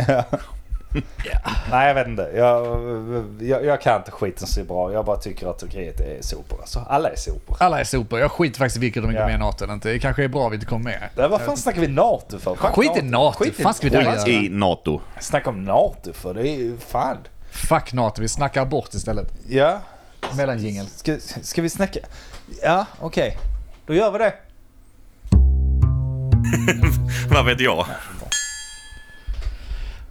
Nej, jag vet inte. Jag, jag, jag kan inte skiten så bra. Jag bara tycker att Turkiet är sopor. Alltså, alla är sopor.
Alla är sopor. Jag skiter faktiskt i vilket de inte
Ja.
går med i NATO eller inte. Det kanske är bra att vi inte kommer med.
Det, vad fan snackar vi NATO för? Fuck
Skit i NATO.
Skit i
Fan ska vi
Skit
dölja det?
I NATO.
Snacka om NATO för. Det är ju fan.
Fuck NATO, vi snackar bort istället.
Ja.
Mellanjingel.
Ska, ska vi snacka? Ja, okej. Då gör vi det.
Vad vet jag?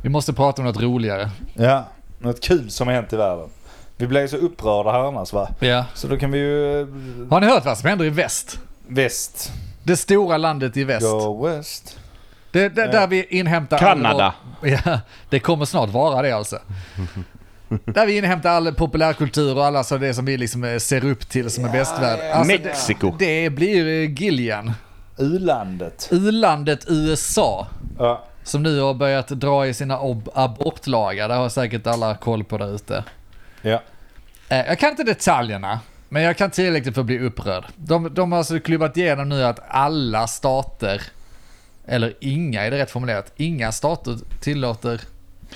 Vi måste prata om något roligare.
Ja. Något kul som har hänt i världen. Vi blev så upprörda här annars va?
Ja.
Så då kan vi ju... eh,
Har ni hört vad som händer i väst?
Väst.
Det stora landet i väst.
Go west.
Det, det, där vi inhämtar...
Kanada.
all vår- Ja, det kommer snart vara
[laughs]
det alltså. Där vi inhämtar all populärkultur och alla så det som vi liksom eh, ser upp till som är västvärld. Alltså, det,
Mexiko.
det blir eh, Gillian.
U-landet.
U-landet USA.
Ja.
Som nu har börjat dra i sina ob- abortlagar. Där har säkert alla koll på där ute.
Ja.
Eh, Jag kan inte detaljerna, men jag kan tillräckligt för att bli upprörd. De, de har alltså klubbat igenom nu att alla stater, eller inga är det rätt formulerat, inga stater tillåter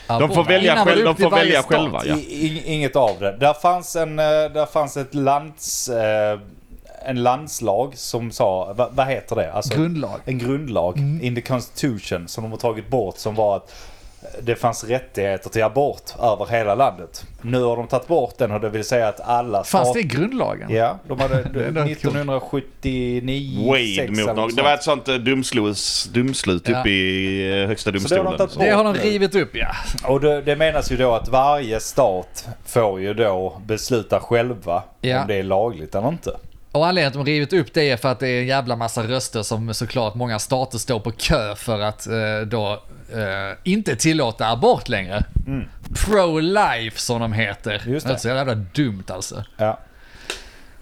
abort.
De får välja,
Innan var det
själv, de
upp till
får
varje
välja
stat.
själva. Ja.
I, i, inget av det. Där fanns en, eh, där fanns ett lands, eh, en landslag som sa, va, vad heter det? Alltså,
Grundlag.
en grundlag
Mm.
in the constitution som de har tagit bort som var att det fanns rättigheter till abort över hela landet. Nu har de tagit bort den och det vill säga att alla
Fanns det i
stat-
grundlagen?
Ja, de hade
[laughs] är nog kul.
1979...
Wade
sex
mot
eller
något.
något
Det var
sånt.
ett sånt eh, domslut, domslut
Ja.
uppe i eh, högsta
Så det har de
domstolen.
tagit
Det har de rivit upp ja.
Och det, det menas ju då att varje stat får ju då besluta själva
Ja.
om det är lagligt eller inte.
Och anledningen till att de rivit upp det är för att det är en jävla massa röster som såklart många stater står på kö för att eh, då eh, inte tillåta abort längre. Pro-life som de heter.
Mm. Just det.
är så jävla dumt alltså.
Ja.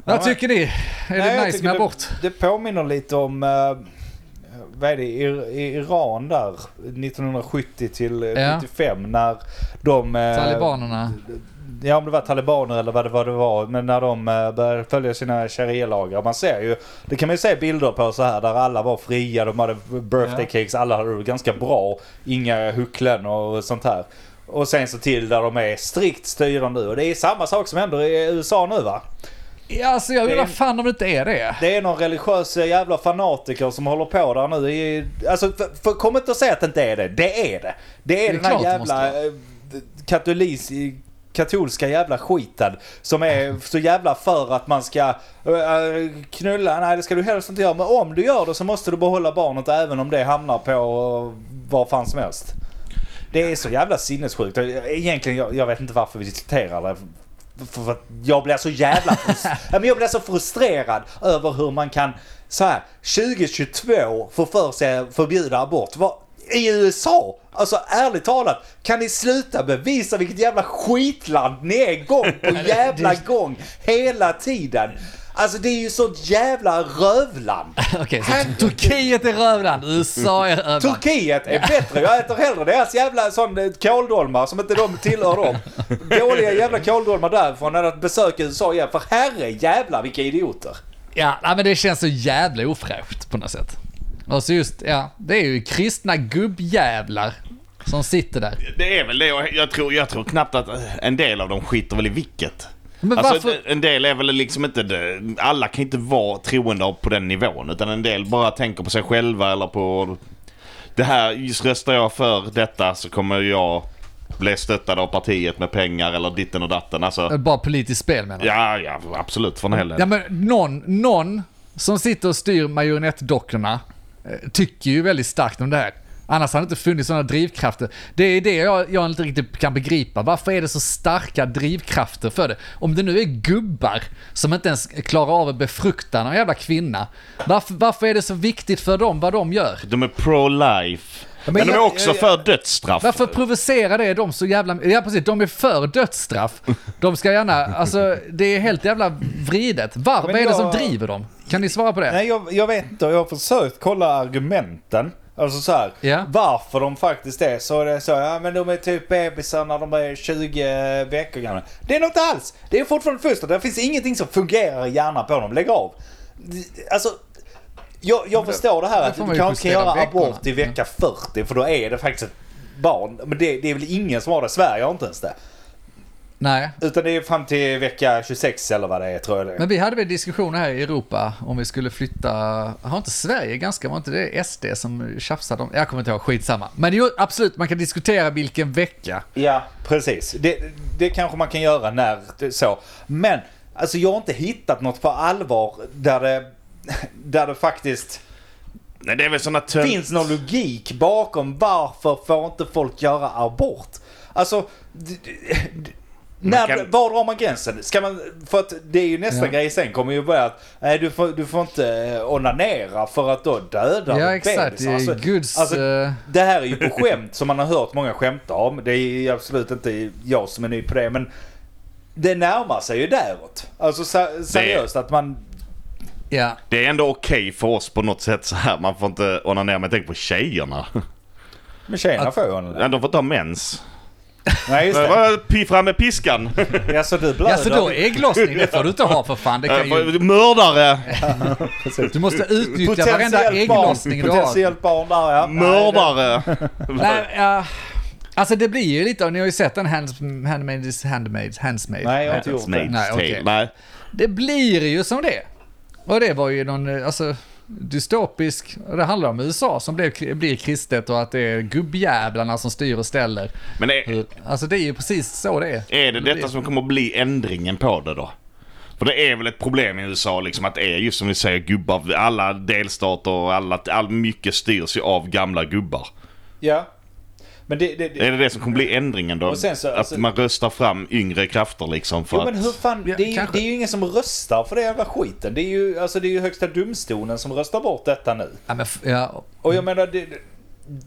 Vad
men-
tycker ni? Är
Nej,
det
jag
nice
tycker
med
det-
abort?
Det påminner lite om, eh, vad är det, Ir- I- Iran där 1970 till eh,
Ja.
95 när de... eh,
Talibanerna?
Ja om det var talibaner eller vad det, vad det var. Men när de eh, började följa sina sharia-lagar. Man ser ju, det kan man ju se bilder på så här där alla var fria. De hade birthday cakes, alla hade det ganska bra. Inga hucklen och sånt här. Och sen så till där de är strikt styrande nu. Och det är samma sak som händer i USA nu va?
Ja, alltså jag
Eh, det är-
undrar fan om det inte är det. [laughs]
Det är någon religiös jävla fanatiker som håller på där nu. i- Alltså, för, för, kom inte och säg att det inte är det. Det är det. Det är,
Det är
den här
klart det måste
jävla eh, katolis, katolska jävla skiten som
[laughs]
är så jävla för att man ska eh, knulla. Nej, det ska du helst inte göra. Men om du gör det så måste du behålla barnet även om det hamnar på eh, vad fan som helst. Det är så jävla sinnessjukt. Egentligen, jag, jag vet inte varför vi diskuterar det. För, för att jag blir så jävla
[laughs]
frus- ja, men jag blir så frustrerad över hur man kan så här 2022 få för sig förbjuda abort. Vad- I USA? Alltså ärligt talat, kan ni sluta bevisa vilket jävla skitland ni är gång
[laughs]
på jävla gång hela tiden? Alltså det är ju sånt jävla rövland.
[laughs] Okej,
Herregud.
så Turkiet är rövland,
[laughs]
USA är rövland.
Turkiet är bättre. Jag äter hellre deras jävla sån eh, kåldolmar som inte de tillhör dem. Dåliga jävla kåldolmar därifrån än att besöka USA igen. För herre jävlar vilka idioter.
Ja, nej, men det känns så jävla ofräscht på något sätt. Och så just, ja, det är ju kristna gubbjävlar som sitter där.
Det är väl det. och Jag tror, jag tror knappt att eh, en del av dem skiter väl i vilket.
Men
alltså,
varför-
En del är väl liksom inte... det- Alla kan inte vara troende på den nivån. Utan en del bara tänker på sig själva eller på... Det här, just röstar jag för detta så kommer jag bli stöttad av partiet med pengar eller ditten och datten. Alltså,
Eh, Bara politiskt spel menar jag.
ja, ja, absolut. För en hel del.
Ja, men någon, någon som sitter och styr marionettdockorna eh, tycker ju väldigt starkt om det här. Annars hade det inte funnits sådana drivkrafter. Det är det jag, jag inte riktigt kan begripa. Varför är det så starka drivkrafter för det? Om det nu är gubbar som inte ens klarar av att befrukta någon jävla kvinna. Varför, varför är det så viktigt för dem vad de gör?
De är pro-life.
men
men, de är
jag-
också
jag-
för dödsstraff.
Varför provocerar det dem så jävla... Ja precis, de är för dödsstraff. De ska gärna... Alltså det är helt jävla vridet. Var, vad är det som
jag-
driver dem? Kan ni svara på det?
Nej jag, jag vet inte. Jag har försökt kolla argumenten. Alltså så här,
Ja.
varför de faktiskt är så. är Det är så ja, men de är typ bebisar när de är 20 veckor gamla. Det är något alls. Det är fortfarande foster. Det finns ingenting som fungerar i hjärnan på dem. Lägg av. Alltså, Jag, jag förstår det här att
får
du
man ju
kanske inte kan
justera
göra
veckorna. Mm.
abort i vecka 40 för då är det faktiskt ett barn. Men det, det är väl ingen som har det. Sverige har inte ens det.
Nej,
Utan det är fram till vecka 26 eller vad det är tror jag det är.
men vi hade väl diskussioner här i Europa om vi skulle flytta, har inte Sverige ganska, var inte det SD som tjafsade om, jag kommer inte ihåg, skitsamma. Men jo, absolut, man kan diskutera vilken vecka.
Ja, precis. Det, det kanske man kan göra när det, så. Men alltså jag har inte hittat något på allvar där det, där det faktiskt
Nej, det är väl såna tönt...
finns någon logik bakom varför får inte folk göra abort? Alltså, d- d- d- när,
kan-
var drar man gränsen? Ska man, för att det är ju nästa
Ja.
grej sen kommer ju börja att nej, du, får, du får inte eh, onanera för att då dödar
Ja,
du
exakt.
bebisar.
Det är
Alltså,
Guds...
alltså,
eh,
det här är ju på skämt som man har hört många skämta om. Det är ju absolut inte jag som är ny på det men det närmar sig ju däråt. Alltså se- seriöst att man...
ja.
Det är ändå okej för oss på något sätt så här. Man får inte onanera. Men tänk på tjejerna.
Men tjejerna
Att-
får ju onanera.
De får ta mens.
Nej just det.
Vad- Pi fram med piskan.
Ja, så du blöder.
Ja, så då ägglossning, det får du inte ha för fan. Det kan ju,
[laughs]
Eh, Mördare!
du måste utnyttja varenda ägglossning du har.
Potentiellt barn där ja.
Mördare!
Nej, ja. Alltså det blir ju lite, och ni har ju sett den hands, handmaids, handmaids, handsmaid.
Nej, jag har inte gjort
Nej,
det.
Nej, okej.
okej. Nej.
Det blir ju som det. Och det var ju någon, eh, alltså dystopisk, och det handlar om USA som blev, blir kristet och att det är gubbjävlarna som styr och ställer.
Men är,
Hur- Alltså det är ju precis så det är.
är det detta som kommer att bli ändringen på det då? För det är väl ett problem i USA liksom att det är just som ni säger gubbar. Alla delstater och alla, all mycket styrs ju av gamla gubbar.
Ja. Men det... det,
Är
det
det det som kommer bli ändringen då?
Och sen så-
att
alltså-
man röstar fram yngre krafter liksom för
Jo men hur
att...
fan, det
Ja,
är, ju,
kanske.
det är ju ingen som röstar för det jävla skiten. Det är ju, alltså, det är ju högsta domstolen som röstar bort detta nu.
Ja, men, f- ja,
Och jag menar, det,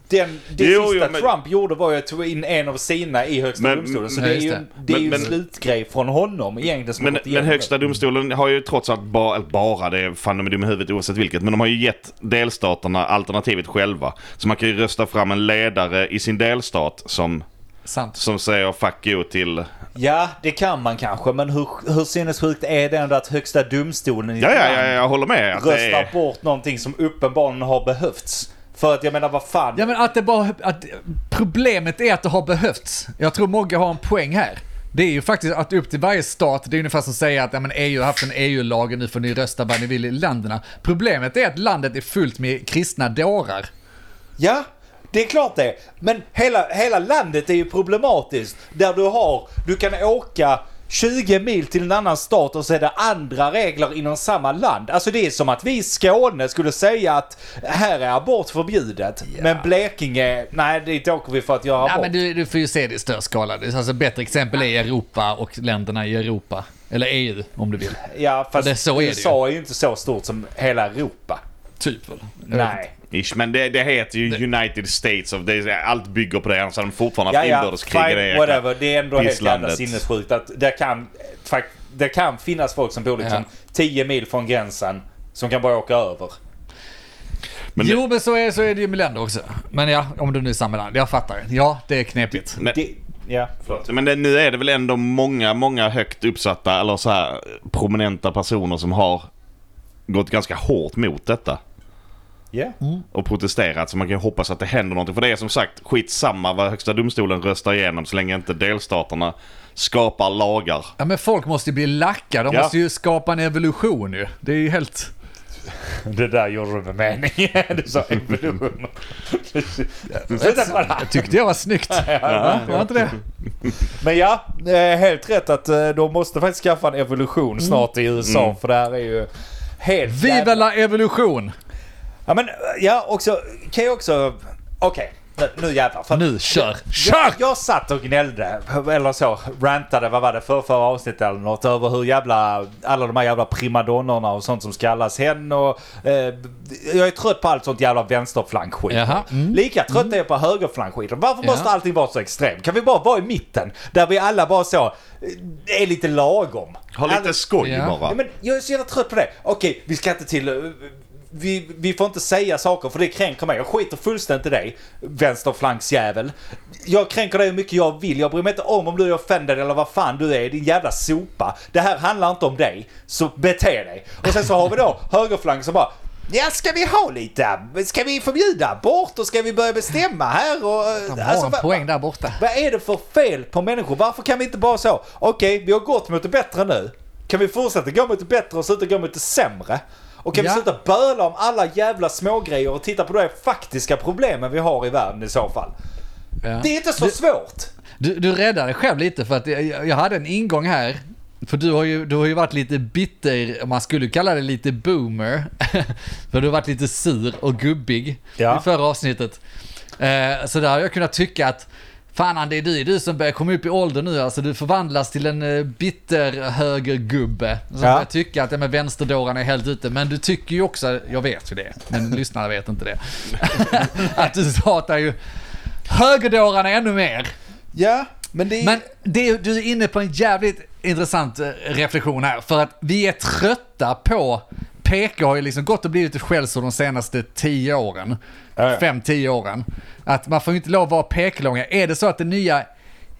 den, det
Jo,
sista
jo, men-
Trump gjorde var ju att ta in en av sina i högsta
Men-
domstolen. Så
Nej,
det är
just
ju,
det.
det är
Men-
ju
men-
en slutgrej från honom egentligen som
Men,
har gått
men
igenom Mm.
högsta
det.
domstolen har ju trots allt bara, eller bara, det är fan de är dumma i huvudet oavsett vilket, men de har ju gett delstaterna alternativet själva. Så man kan ju rösta fram en ledare i sin delstat som,
sant.
som säger fuck you till...
Ja, det kan man kanske. Men hur, hur sinnessjukt är det ändå att högsta domstolen i
Ja, ja,
ett
ja,
land
jag håller med. Att det
röstar
är...
bort någonting som uppenbarligen har behövts? För att jag menar, vad fan.
Ja men att det bara, att problemet är att det har behövts. Jag tror Mogge har en poäng här. Det är ju faktiskt att upp till varje stat, det är ungefär som att säga att ja, men EU har haft en EU-lag och nu får ni rösta vad ni vill i länderna. Problemet är att landet är fullt med kristna dårar.
Ja, det är klart det. Men hela, hela landet är ju problematiskt. Där du har, du kan åka 20 mil till en annan stat och så är det andra regler inom samma land. Alltså det är som att vi i Skåne skulle säga att här är abort förbjudet. Men Blekinge, nej dit åker vi för att göra
Ja,
abort.
men du, du får ju se det i större skala. Det är Alltså, bättre exempel är Europa och länderna i Europa. Eller EU om du vill.
Ja fast
Det- så är det
USA är ju inte så stort som hela Europa.
Typ. eller?
Nej.
Ish, men det, det heter ju United States of... Det är, allt bygger på det, annars hade de fortfarande
Ja,
haft
ja,
inbördeskrig i
fine,
det
whatever. Det är ändå helt jävla
pisslandet.
sinnessjukt att det kan, fakt, det kan finnas folk som bor liksom 10 mil från gränsen som kan bara åka över.
Men-
jo, men så är, så är det ju med länder också. Men ja, om du nu är samma land. Jag fattar. Ja, det är knepigt.
Men-
Det, ja.
Förlåt. Men det, nu är det väl ändå många, många högt uppsatta eller så här prominenta personer som har gått ganska hårt mot detta
Ja.
och protesterat. Så man kan ju hoppas att det händer någonting. För det är som sagt skitsamma vad Högsta domstolen röstar igenom så länge inte delstaterna skapar lagar.
Ja, men folk måste ju bli lacka. De
Ja.
måste ju skapa en evolution ju. Det är ju helt...
[laughs] Det där gjorde du med mening. [laughs] Du sa [laughs] evolution. Sluta kolla.
Jag tyckte jag var snyggt. Va? Var inte det?
Men ja, eh, helt rätt att eh, de måste faktiskt skaffa en evolution snart i USA för det här är ju helt
Viva
jävla-
la evolution!
Ja men ja, också, kan jag också... Okej, nu, nu jävlar. För att-
Nu, kör!
Jag,
Kör!
jag satt och gnällde, eller så, rantade, vad var det, för förra avsnittet eller något, över hur jävla, alla de här jävla primadonnorna och sånt som skallas hen och... Eh, jag är trött på allt sånt jävla vänsterflankskit.
Jaha, mm.
Lika trött är jag på högerflankskiten. Varför
Ja.
måste allting vara så extremt? Kan vi bara vara i mitten? Där vi alla bara så, eh, är lite lagom.
Ha lite
Alla-
skoj
Ja.
bara.
Ja, men jag är så jävla trött på det. Okej, vi ska inte till... eh, Vi, vi får inte säga saker för det kränker mig. Jag skiter fullständigt i dig, vänsterflanksjävel. Jag kränker dig hur mycket jag vill. Jag bryr mig inte om om du är offended eller vad fan du är, din jävla sopa. Det här handlar inte om dig, så bete dig. Och sen så har vi då högerflank som bara... Ja, ska vi ha lite? ab- Ska vi förbjuda abort och ska vi börja bestämma här? Och, eh,
De har
alltså,
en
vad-
poäng där borta.
Vad är det för fel på människor? Varför kan vi inte bara så? Okej, vi har gått mot det bättre nu. Kan vi fortsätta gå mot det bättre och sluta gå mot det sämre? Och kan
Ja.
vi sluta böla om alla jävla smågrejer och titta på de faktiska problemen vi har i världen i så fall?
Ja.
Det är inte så svårt.
Du, du räddade dig själv lite för att jag, jag hade en ingång här. För du har, ju, du har ju varit lite bitter, man skulle kalla det lite boomer. [laughs] för du har varit lite sur och gubbig
Ja.
i förra avsnittet. Eh, så där har jag kunnat tycka att fan Andy, det är du som börjar komma upp i ålder nu. Alltså du förvandlas till en eh, bitter högergubbe. Som
Ja.
börjar tycka att ja, men vänsterdåran är helt ute. Men du tycker ju också, jag vet ju det, men [laughs] lyssnarna vet inte det. att du hatar ju högerdårarna ännu mer.
Ja, men det är...
Men det, du är inne på en jävligt intressant eh, reflektion här. För att vi är trötta på... PK har ju liksom gått och blivit ett skällsord de senaste 10 åren.
Ja, ja.
5-10 åren. Att man får ju inte lov att vara peklånga. Är det så att den nya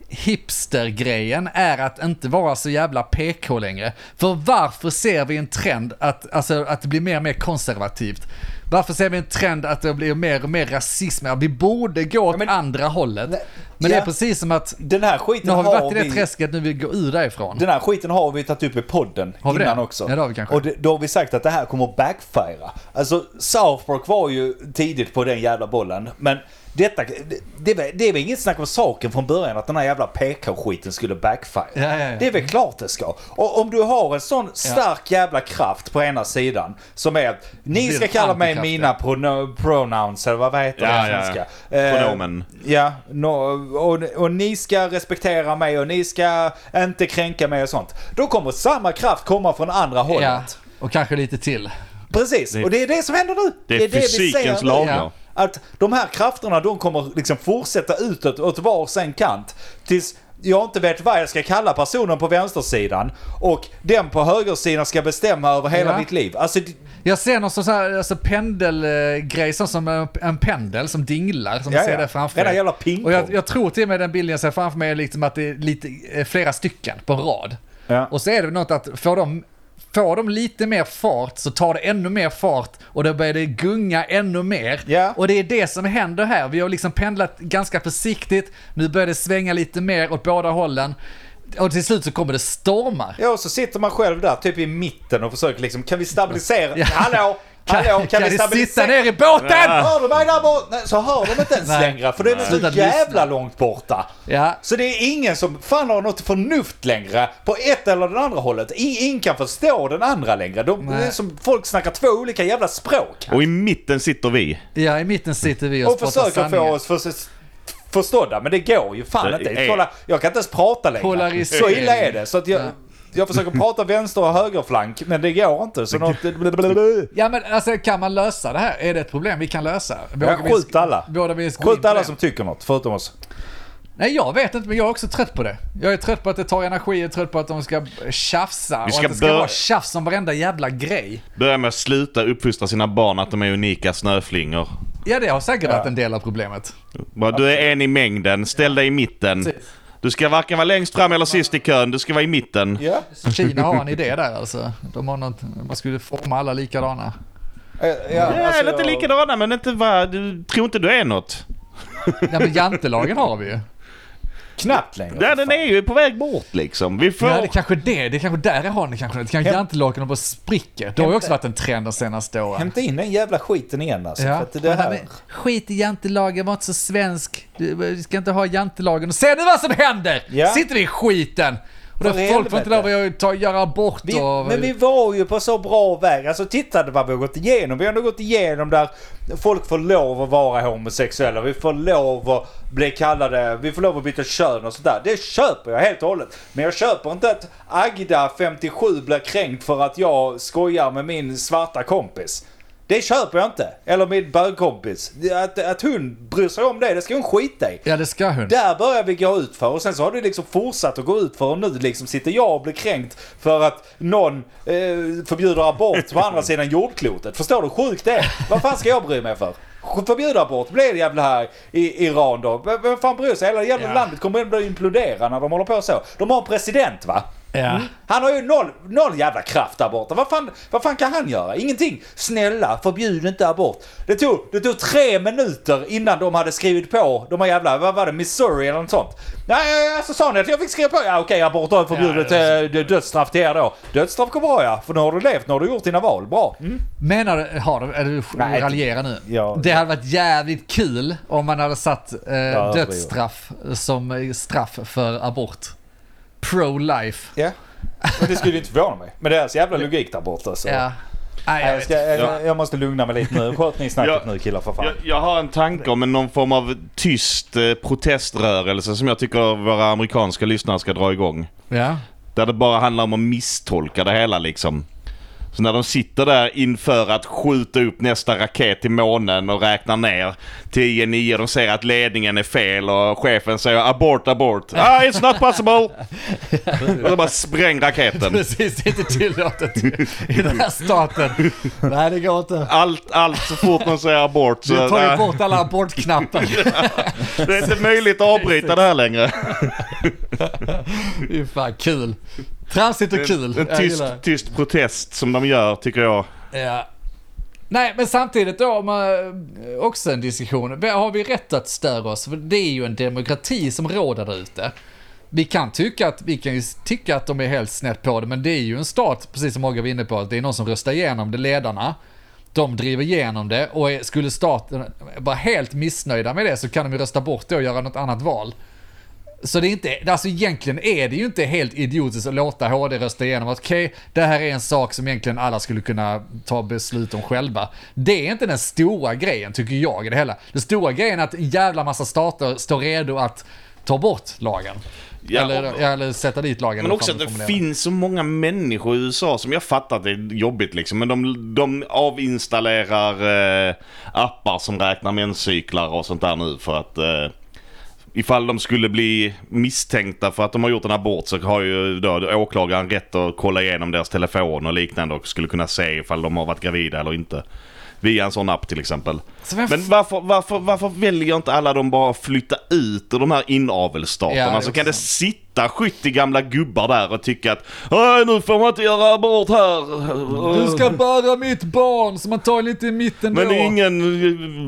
hipstergrejen är att inte vara så jävla PK längre? För varför ser vi en trend att, alltså, att det blir mer och mer konservativt? Varför ser vi en trend att det blir mer och mer rasism? Ja, Vi borde gå åt
men-
andra hållet.
Nej,
men det
ja.
är precis som att
den här skiten
nu har vi varit i det
vi-
träsket, nu vill vi gå ur därifrån.
Den här skiten har vi tagit upp i podden
Har vi det?
innan också.
Ja, det har vi kanske.
Och det, då har vi sagt att det här kommer att backfira. Alltså South Park var ju tidigt på den jävla bollen. Men detta, det, det, var- det var inget snack om saken från början att den här jävla PK-skiten skulle backfire.
Ja, ja, ja.
Det är väl klart det ska. Och om du har en sån stark jävla kraft på ena sidan som är att ni
blir
ska
en
kalla mig
antikraft,
mina prono- pronouns eller vad heter
Ja,
det
ja, ja.
svenska? Eh,
Pronomen.
Ja, no, och, och ni ska respektera mig och ni ska inte kränka mig och sånt. Då kommer samma kraft komma från andra hållet.
ja, och kanske lite till.
Precis, och det är det som händer nu.
är fysikens
nu.
lagar.
Ja.
Att de här krafterna de kommer liksom fortsätta utåt åt var sin kant. Tills jag inte vet vad jag ska kalla personen på vänstersidan och den på högersidan ska bestämma över hela
Ja.
mitt liv. Alltså, det-
Jag ser någon sån här alltså pendelgrej, sån som en- en pendel som dinglar, som
Ja,
ja, ser
ja.
det framför
Rena
mig.
jävla pingpong.
Och jag, jag tror till och med den bilden jag ser framför mig är liksom att det är lite, eh, flera stycken på en rad.
Ja.
Och så är det väl något att får de, får de lite mer fart så tar det ännu mer fart och då börjar det gunga ännu mer.
Ja.
Och det är det som händer här. Vi har liksom pendlat ganska försiktigt, nu börjar det svänga lite mer åt båda hållen. Och till slut så kommer det stormar.
ja, och så sitter man själv där typ i mitten och försöker liksom, kan vi stabilisera?
Ja.
Hallå? Hallå, kan, vi
sitta
stabilisera?
ner i båten? Ja.
Hör du mig där borta? Nej, Så hör de inte ens
Ah. Nej.
längre för det är så
Sluta
jävla
lyssna.
långt borta.
Ja.
Så det är ingen som fan har något förnuft längre på ett eller det andra hållet. I- Ingen kan förstå den andra längre. De,
Nej.
det är som folk snackar två olika jävla språk.
Och i mitten sitter vi.
i mitten sitter vi och,
Och försöker få oss för, förstådda, men det går ju fan
Det
inte.
är-
Kolla, jag kan inte ens prata längre.
Polarisering.
Så illa är det. Så att jag,
Ja.
jag försöker prata vänster och högerflank, men det går inte. Så något... blablabla.
Ja men alltså kan man lösa det här? Är det ett problem vi kan lösa? Vågar
Ja,
vi-
skjut alla.
Vågar vi gå in
Skjut
på
alla
det?
som tycker något, förutom oss.
Nej jag vet inte men jag är också trött på det. Jag är trött på att det tar energi, jag är trött på att de ska tjafsa och
ska
att det ska
bör-
vara tjafs om varenda jävla grej.
Börja med att sluta uppfostra sina barn att de är unika snöflingor.
Ja det har säkert varit en del av problemet.
Bara, Du är en i mängden, ställ dig i mitten.
Precis.
Du ska varken vara längst fram eller sist i kön, du ska vara i mitten.
Ja.
Kina har en idé där alltså. De har något, man skulle forma alla likadana.
Ja,
Ja,
alltså
eller inte
jag-
likadana men inte vad, du tror inte du är något.
Ja men jantelagen har vi ju.
Knappt längre.
Ja, den är ju på väg bort liksom. Vi får...
Ja, det är kanske det, det är kanske där jag har den kanske. Det kanske jantelagen och bara spricker. Det har ju också varit en trend de senaste åren.
Hämta in den jävla skiten igen alltså. För att det
men-
här...
men skit i jantelagen, var inte så svensk. Du, du ska inte ha jantelagen. Och ser du vad som händer?
Ja.
Sitter vi i skiten? Och då
För
folk får
helvete.
inte lov att ta, göra abort
Vi,
och...
men vi var ju på så bra väg. Alltså titta vad vi har gått igenom. Vi har ändå gått igenom där folk får lov att vara homosexuella. Vi får lov att bli kallade, vi får lov att byta kön och sådär. Det köper jag helt och hållet. Men jag köper inte att Agda 57 blir kränkt för att jag skojar med min svarta kompis. Det köper jag inte. Eller min bögkompis. Att, att hon bryr sig om det, det ska hon skita i.
Ja, det ska hon.
Där börjar vi gå ut för och sen så har det liksom fortsatt att gå ut för och nu liksom sitter jag och blir kränkt för att någon eh, förbjuder abort på andra sidan jordklotet. Förstår du hur sjukt det är? Vad fan ska jag bry mig för? Förbjuda abort blir det jävla här i Iran då. V- Vem fan bryr sig? Hela jävla
Ja.
landet kommer att bli imploderande när de håller på så. De har en president va?
Ja.
Mm. Han har ju noll, noll jävla kraft där borta. Vad fan, vad fan kan han göra? Ingenting. Snälla, förbjud inte abort. Det tog, det tog tre minuter innan de hade skrivit på de här jävla, vad var det, Missouri eller något sånt. Nej, ja, ja, så sa ni att jag fick skriva på. Ja, okej, abort har förbjudet
Ja,
eh, d- dödsstraff till er då. Dödsstraff går bra ja, för nu har du levt, nu har du gjort dina val. Bra. Mm.
Menar du, har du, eller du
Nej,
raljerar nu.
ja.
det hade varit jävligt kul om man hade satt eh,
överdriver.
dödsstraff som eh, straff för abort. Pro-life.
Ja. Men det skulle ju inte förvåna mig. Men deras jävla logik där borta så.
Ja. Nej, jag
Jag,
vet.
ska,
Ja.
jag, jag måste lugna mig lite nu. Sköt ni snacket
Ja.
nu killar för fan.
Jag, jag har en tanke om en- någon form av tyst eh, proteströrelse som jag tycker våra amerikanska lyssnare ska dra igång.
Ja.
Där det bara handlar om att misstolka det hela liksom. Så när de sitter där inför att skjuta upp nästa raket till månen och räknar ner 10, 9, de säger att ledningen är fel och chefen säger abort, abort. Ah, it's
[laughs]
not possible! och de bara spräng raketen.
Precis, det är inte tillåtet i den här staten. Nej, det går inte.
Allt, allt så fort någon säger abort så...
Du tar ju
nej,
bort alla
[laughs]
abortknappar.
det är inte möjligt att avbryta det här längre.
Det är fan kul. Tramsigt och kul.
En
Jag
tyst,
gillar det.
tyst protest som de gör tycker jag.
Ja. Nej, men samtidigt då, man, också en diskussion. Har vi rätt att störa oss? För det är ju en demokrati som råder där ute. Vi kan, tycka att, vi kan ju tycka att de är helt snett på det, men det är ju en stat, precis som Mogge var inne på, att det är någon som röstar igenom det, ledarna. De driver igenom det och är- skulle staten vara helt missnöjda med det så kan de ju rösta bort det och göra något annat val. Så det är inte, alltså egentligen är det ju inte helt idiotiskt att låta HD rösta igenom att okej, det här är en sak som egentligen alla skulle kunna ta beslut om själva. Det är inte den stora grejen tycker jag i det hela. Den stora grejen är att en jävla massa stater står redo att ta bort lagen.
Ja,
eller,
och-
eller sätta dit lagen.
Men
eller
också
fan
att
man
det
formulerar.
finns så många människor i USA som jag fattar att det är jobbigt liksom. Men de, de avinstallerar eh, appar som räknar menscyklar och sånt där nu för att eh, ifall de skulle bli misstänkta för att de har gjort en abort så har ju då åklagaren rätt att kolla igenom deras telefon och liknande och skulle kunna se ifall de har varit gravida eller inte. Via en sån app till exempel.
Så vem
Men varför, varför, varför väljer inte alla de bara att flytta ut ur de här
Ja,
inavelsstaterna?
det är
så
också
kan det
sant.
sitta 70 gamla gubbar där och tycka att "Nej, nu får man inte göra abort här.
Du ska bära mitt barn så man tar lite i mitten
Men
då.
ingen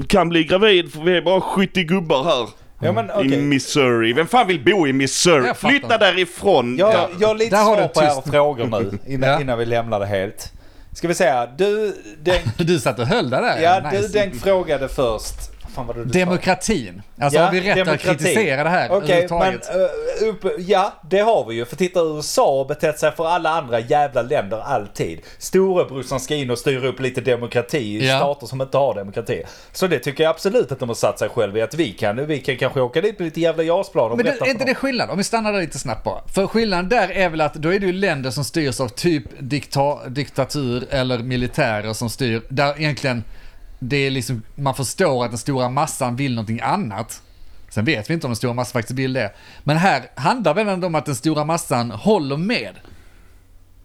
eh, kan bli gravid för vi är bara 70 gubbar här.
Ja, men, okej.
I Missouri. Vem fan vill bo i Missouri?
Jag fattar.
Flytta därifrån!
Jag, jag har lite
Där har
svar
du
på era
tyst.
frågor nu innan,
[laughs] Ja.
innan vi lämnar det helt. Ska vi säga, du
[laughs]
Denk,
Du satt och höll där där.
ja,
Nice.
du, Denk frågade först. Vad Fan vad du sa?
Demokratin. Alltså
Ja,
har vi rätt
demokrati.
att kritisera det här
Okej, men
överhuvudtaget?
eh, upp, ja det har vi ju. För titta USA har betett sig för alla andra jävla länder alltid. Storebrorsan ska in och styra upp lite demokrati i
Ja.
stater som inte har demokrati. Så det tycker jag absolut att de har satt sig själv i. Att vi kan, vi kan kanske åka dit med lite jävla JAS-plan och
Men
berätta
det, är
för
inte
dem.
det skillnad? Om vi stannar där lite snabbt bara. För skillnaden där är väl att då är det ju länder som styrs av typ dikta, diktatur eller militärer som styr. Där egentligen det är liksom, man förstår att den stora massan vill någonting annat. Sen vet vi inte om den stora massan faktiskt vill det. Men här handlar väl ändå om att den stora massan håller med.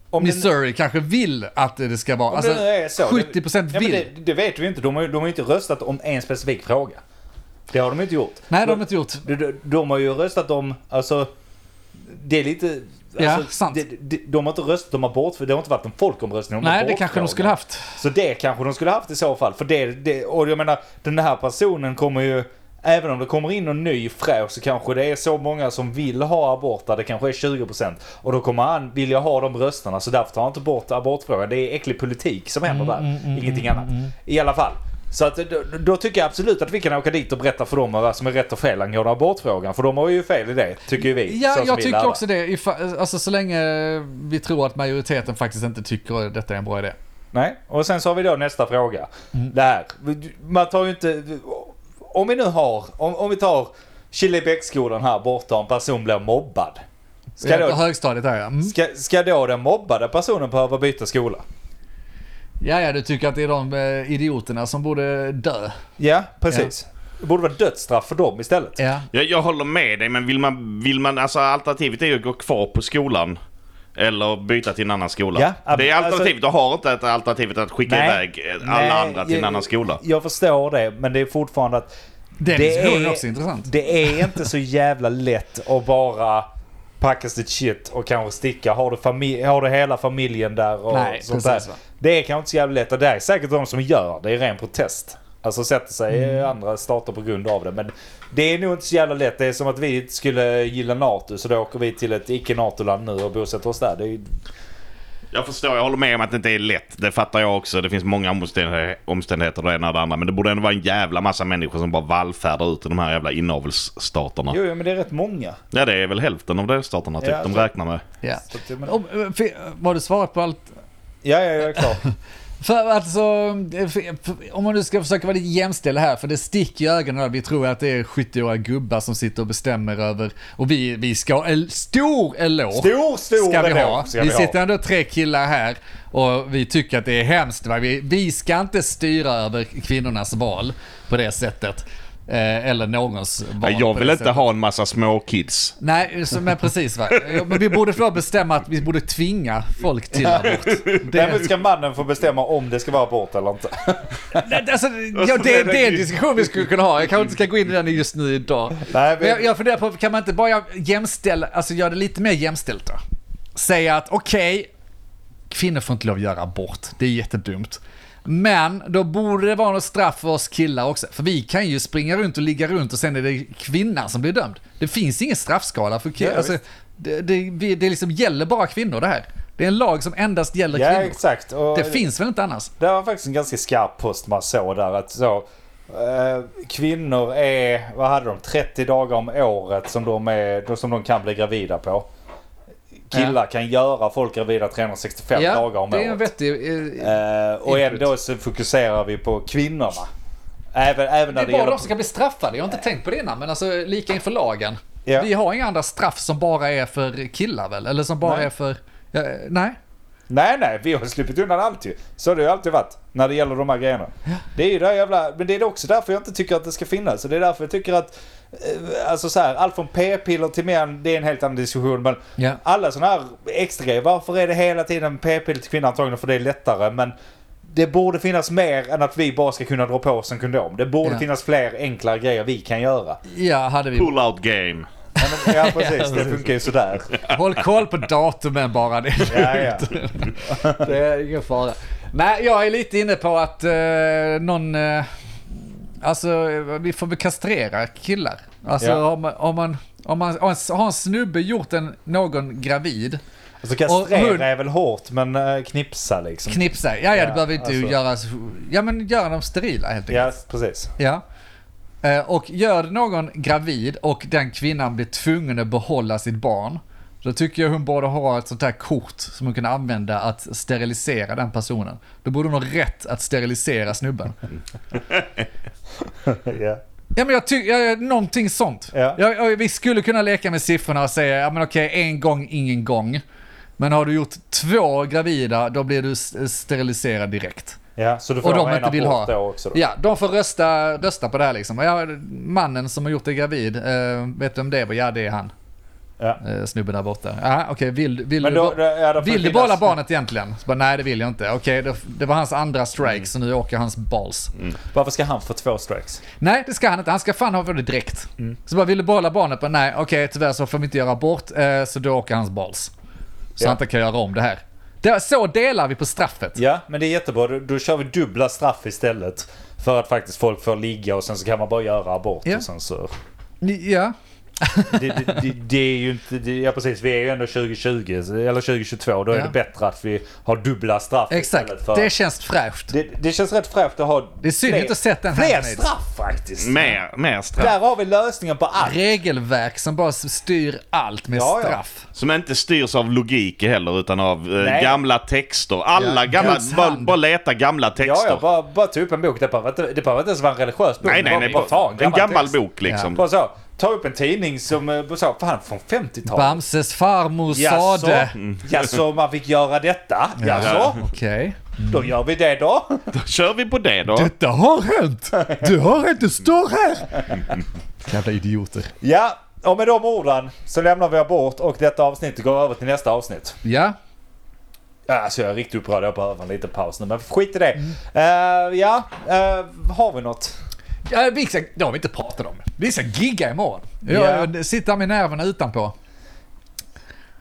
Om det-
Missouri kanske vill att det ska vara...
Om
Alltså,
det nu är så,
70%
det,
vill.
Ja, men det, det vet vi inte. De har, ju- de har ju inte röstat om en specifik fråga. Det har de inte gjort.
Nej, det har de inte gjort.
De, de, de har ju röstat om, alltså, det är lite...
Ja,
alltså,
sant.
De, de, de har inte röstat om abort, för det har inte varit en folkomröstning om
Nej, det
abortfrågan.
kanske de skulle haft.
Så det kanske de skulle haft i så fall. För det, det, och jag menar, den här personen kommer ju... Även om det kommer in någon ny fräsch så kanske det är så många som vill ha abort där det kanske är 20% och då kommer han vilja ha de rösterna så därför tar han inte bort abortfrågan. Det är äcklig politik som händer
Mm,
där. Ingenting annat. I alla fall. Så att, då, då tycker jag absolut att vi kan åka dit och berätta för dem vad som är rätt och fel angående abortfrågan. För de har ju fel i det, tycker ju vi. så
Ja,
som
jag
vi
tycker
lärda.
också det. Ifa- Alltså så länge vi tror att majoriteten faktiskt inte tycker att detta är en bra idé.
Nej, och sen så har vi då nästa fråga.
Mm.
Det här, man tar ju inte... Om vi nu har, om, om vi tar Killebäcksskolan här borta och en person blir mobbad. Ska
Ja, på
då,
högstadiet där ja. Mm.
ska, ska då den mobbade personen behöva byta skola?
ja. Ja, du tycker att det är de eh, idioterna som borde dö.
Ja, precis. Det borde vara dödsstraff för dem istället.
Ja.
Jag, jag håller med dig men vill man, vill man, alltså alternativet är ju att gå kvar på skolan. Eller byta till en annan skola.
Ja, ab-
det är alternativet.
alltså-
du har inte ett alternativet att skicka
Nej.
iväg eh, alla
Nej,
andra till en
jag-
annan skola.
Jag förstår det, men det är fortfarande att...
Den diskussionen är också intressant.
Det är inte så jävla lätt att bara packa sitt shit och kanske sticka. Har du, fami- har du hela familjen där och
Nej,
sånt
precis,
där.
va.
Det är kanske inte så jävla lätt. Och Det är säkert de som gör det i ren protest. Alltså sätter sig i
Mm.
andra stater på grund av det. Men det är nog inte så jävla lätt. Det är som att vi inte skulle gilla NATO så då åker vi till ett icke-NATO-land nu och bosätter oss där. Det är ju...
Jag förstår, jag håller med om att det inte är lätt. Det fattar jag också. Det finns många omständighe- omständigheter och det ena och det andra. Men det borde ändå vara en jävla massa människor som bara vallfärdar ut i de här jävla inavelsstaterna.
Jo, jo, men det är rätt många.
Ja, det är väl hälften av delstaterna typ
Ja, alltså-
de
så-
räknar med.
Ja.
Så att, men...
Om, eh, fi- Har du svarat på allt?
Ja, ja, jag är klar.
För alltså, eh, fi- f- om man nu ska försöka vara lite jämställd här, för det sticker i ögonen. Vi tror att det är 70-åriga gubbar som sitter och bestämmer över, och vi, vi ska ha en stor eloge.
Stor, stor
ska vi
eloge
ha.
ska
vi
vi ha.
sitter ändå tre killar här och vi tycker att det är hemskt. Va? Vi, vi ska inte styra över kvinnornas val på det sättet. Eh, eller någons val.
Nej, jag
på
vill
det
inte
sättet.
ha en massa små kids.
Nej, så, men precis va. Ja, Men vi borde få bestämma att vi borde tvinga folk till abort.
Nej, men ska mannen få bestämma om det ska vara abort eller inte?
Nej, Alltså, ja, det, det är en diskussion vi skulle kunna ha. Jag kanske inte ska gå in i den just nu idag.
Nej,
Men
vi...
jag, jag funderar på, kan man inte bara jämställa, alltså göra det lite mer jämställt då? Säga att okej, kvinnor får inte lov att göra abort, det är jättedumt. Men då borde det vara något straff för oss killar också. För vi kan ju springa runt och ligga runt och sen är det kvinnan som blir dömd. Det finns ingen straffskala för killar.
Ja,
alltså, det, det, vi- det liksom gäller bara kvinnor det här. Det är en lag som endast gäller
Ja,
kvinnor.
exakt. Och...
Det finns väl inte annars?
Det var faktiskt en ganska skarp post man såg där. Att så, eh, kvinnor är, vad hade de, 30 dagar om året som de, är, som de kan bli gravida på. Killar kan göra folk gravida 365 dagar
Ja,
om
det är en
året.
vettig... eh,
Eh, och
input.
ändå så fokuserar vi på kvinnorna. Även, även
Det
när
är
det,
bara
gäller...
de som kan bli straffade. Jag har inte tänkt på det innan, men alltså lika inför lagen.
Ja.
Vi har inga andra straff som bara är för killar väl? Eller som bara
Nej.
är för... Ja, nej.
Nej, nej, vi har sluppit undan allt ju. Så har det ju alltid varit när det gäller de här grejerna. Det är ju det här jävla, men det är också därför jag inte tycker att det ska finnas. Så det är därför jag tycker att, eh, alltså så här, allt från p-piller till män, det är en helt annan diskussion. Men
Ja.
alla sådana här extra grejer, varför är det hela tiden p-piller till kvinnor antagligen för det är lättare, men det borde finnas mer än att vi bara ska kunna dra på oss en kondom. Det borde
Ja.
finnas fler enklare grejer vi kan göra.
[laughs] Ja, hade vi.
Pull out game.
Ja, men, ja precis, det funkar ju sådär.
Håll koll på datumen bara. Det
[laughs]
är,
Ja, Alltså ja.
det är ingen fara. Nej, jag är lite inne på att eh, någon... Eh, alltså, vi får väl kastrera killar. Alltså,
Ja.
om, om man... Om man om en- har en snubbe gjort en, någon gravid,
Alltså
Och hund-
kastrera är väl hårt, men eh, knipsa liksom.
knipsa. Ja, ja, det
Ja,
behöver inte
alltså.
göra... Ja, men göra dem sterila helt enkelt.
Ja, precis.
Ja. Eh, Och gör någon gravid och den kvinnan blir tvungen att behålla sitt barn, då tycker jag hon borde ha ett sånt här kort som hon kan använda att sterilisera den personen. Då borde hon ha rätt att sterilisera snubben.
Ja.
Ja men jag tycker, någonting sånt.
Ja.
Jag, jag, vi skulle kunna leka med siffrorna och säga, ja men okej, en gång, ingen gång. Men har du gjort två gravida, då blir du s- steriliserad direkt.
Ja, så du får
Och de
en
inte vill
abort
ha.
då också då.
Ja, de får rösta, rösta på det här liksom. Ja, mannen som har gjort dig gravid, eh, vet du vem det var? Ja, det är han.
Ja.
Eh, snubben där borta. Ja, okej, vill, vill,
Men
du
då,
bo-
då, ja, då får
vill du
finnas-
behålla barnet egentligen? Så bara, nej, det vill jag inte. Okej, det, det var hans andra strike,
Mm.
så nu åker hans balls.
Varför ska han få två strikes?
Nej, det ska han inte. Han ska fan ha det direkt.
Mm.
Så bara, vill du behålla barnet? Bara, nej, okej, tyvärr så får vi inte göra abort, eh, så då åker hans balls. Så
Ja.
han inte kan göra om det här. Det, så delar vi på straffet.
Ja, men det är jättebra. Då, då kör vi dubbla straff istället. För att faktiskt folk får ligga och sen så kan man bara göra abort
Ja.
och sen så...
ja.
Det, det, det, det är ju inte... Det, ja precis, vi är ju ändå 2020 eller 2022. Då är
Ja.
det bättre att vi har dubbla straff istället
Exakt,
för...
det känns fräscht.
det, det känns rätt fräscht att ha...
Det är synd
fler-
inte att sett den här
Fler
med.
straff faktiskt!
Mer, mer straff.
Där har vi lösningen på allt!
regelverk som bara styr allt med
Ja, ja.
straff.
Som inte styrs av logik heller utan av eh,
Nej.
gamla texter. Alla
Ja.
gamla...
Guds
Bara,
hand.
bara leta gamla
Ja,
texter.
ja, bara, bara ta upp en bok. Det behöver inte, det behöver inte ens vara en religiös bok.
Nej,
bara,
nej, nej.
bara ta en gammal, text.
bok liksom.
Bara så, ta upp en tidning som eh, bara så, fan från 50-talet.
Bamses farmor sade...
Ja, så man fick göra detta? Ja, så.
Okej.
Då gör vi det då.
Då kör vi på det då.
Detta har hänt! Det har hänt, det står här! Jävla idioter.
Ja, och med de orden så lämnar vi abort och detta avsnitt går över till nästa avsnitt.
Ja,
Ja, Alltså jag är riktigt upprörd, jag behöver en liten paus nu men skit i det.
Mm.
Eh, ja, eh, har vi något?
ja vi ska, det har vi inte pratat om. Vi ska gigga imorgon. Jag
Ja.
jag sitter med nerverna utanpå.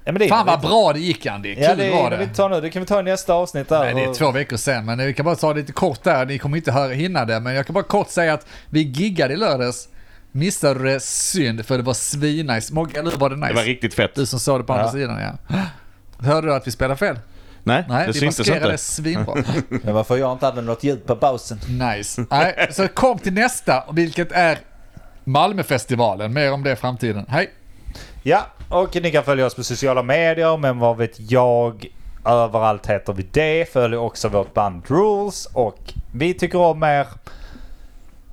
Ja, men det
Fan
hinner
vad
vi inte.
bra det gick Andy. Kul
Ja, det
var
hinner vi
det.
inte ta nu. Det kan vi ta i nästa avsnitt där.
Nej, det är
och-
två veckor sedan, men vi kan bara ta lite kort där. Ni kommer inte höra hinna det, men jag kan bara kort säga att vi giggade i lördags. Missade det synd, för det var svinnice. Mogge, eller hur var det nice?
Det var riktigt fett.
Du som såg det på andra
Ja.
sidan, ja. Hörde du att vi spelade fel?
Nej,
Nej,
det
vi
syntes
maskerade
inte.
svinbra.
Men varför jag inte använder något ljud på pausen?
Nice. Nej, så kom till nästa, vilket är Malmöfestivalen. Mer om det i framtiden. Hej!
Ja, och ni kan följa oss på sociala medier, men vad vet jag? Överallt heter vi det. Följ också vårt band Rules och vi tycker om er.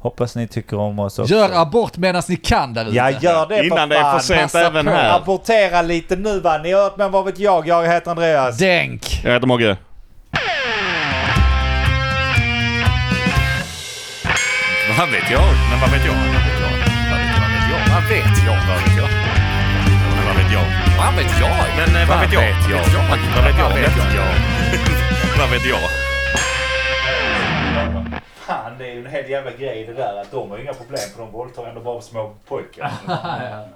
Hoppas ni tycker om oss också.
Gör abort medan ni kan där ute.
Ja, gör det för
Innan det är
fan.
för sent
passa
även
på.
här.
Abortera lite nu va. Ni har hört men vad vet jag? Jag heter Andreas.
Denk!
Jag heter Mogge.
Vad vet jag? Men vad vet jag? Vad vet jag? Vad vet jag? Vad vet jag? Vad vet jag? Men vad vet jag? Vad vet jag? Men eh, vad vet jag? Vad vet jag? Vad vet jag? Vad vet jag?
Fan, det är ju en hel jävla grej det där att de har inga problem för de våldtar ändå bara små pojkar.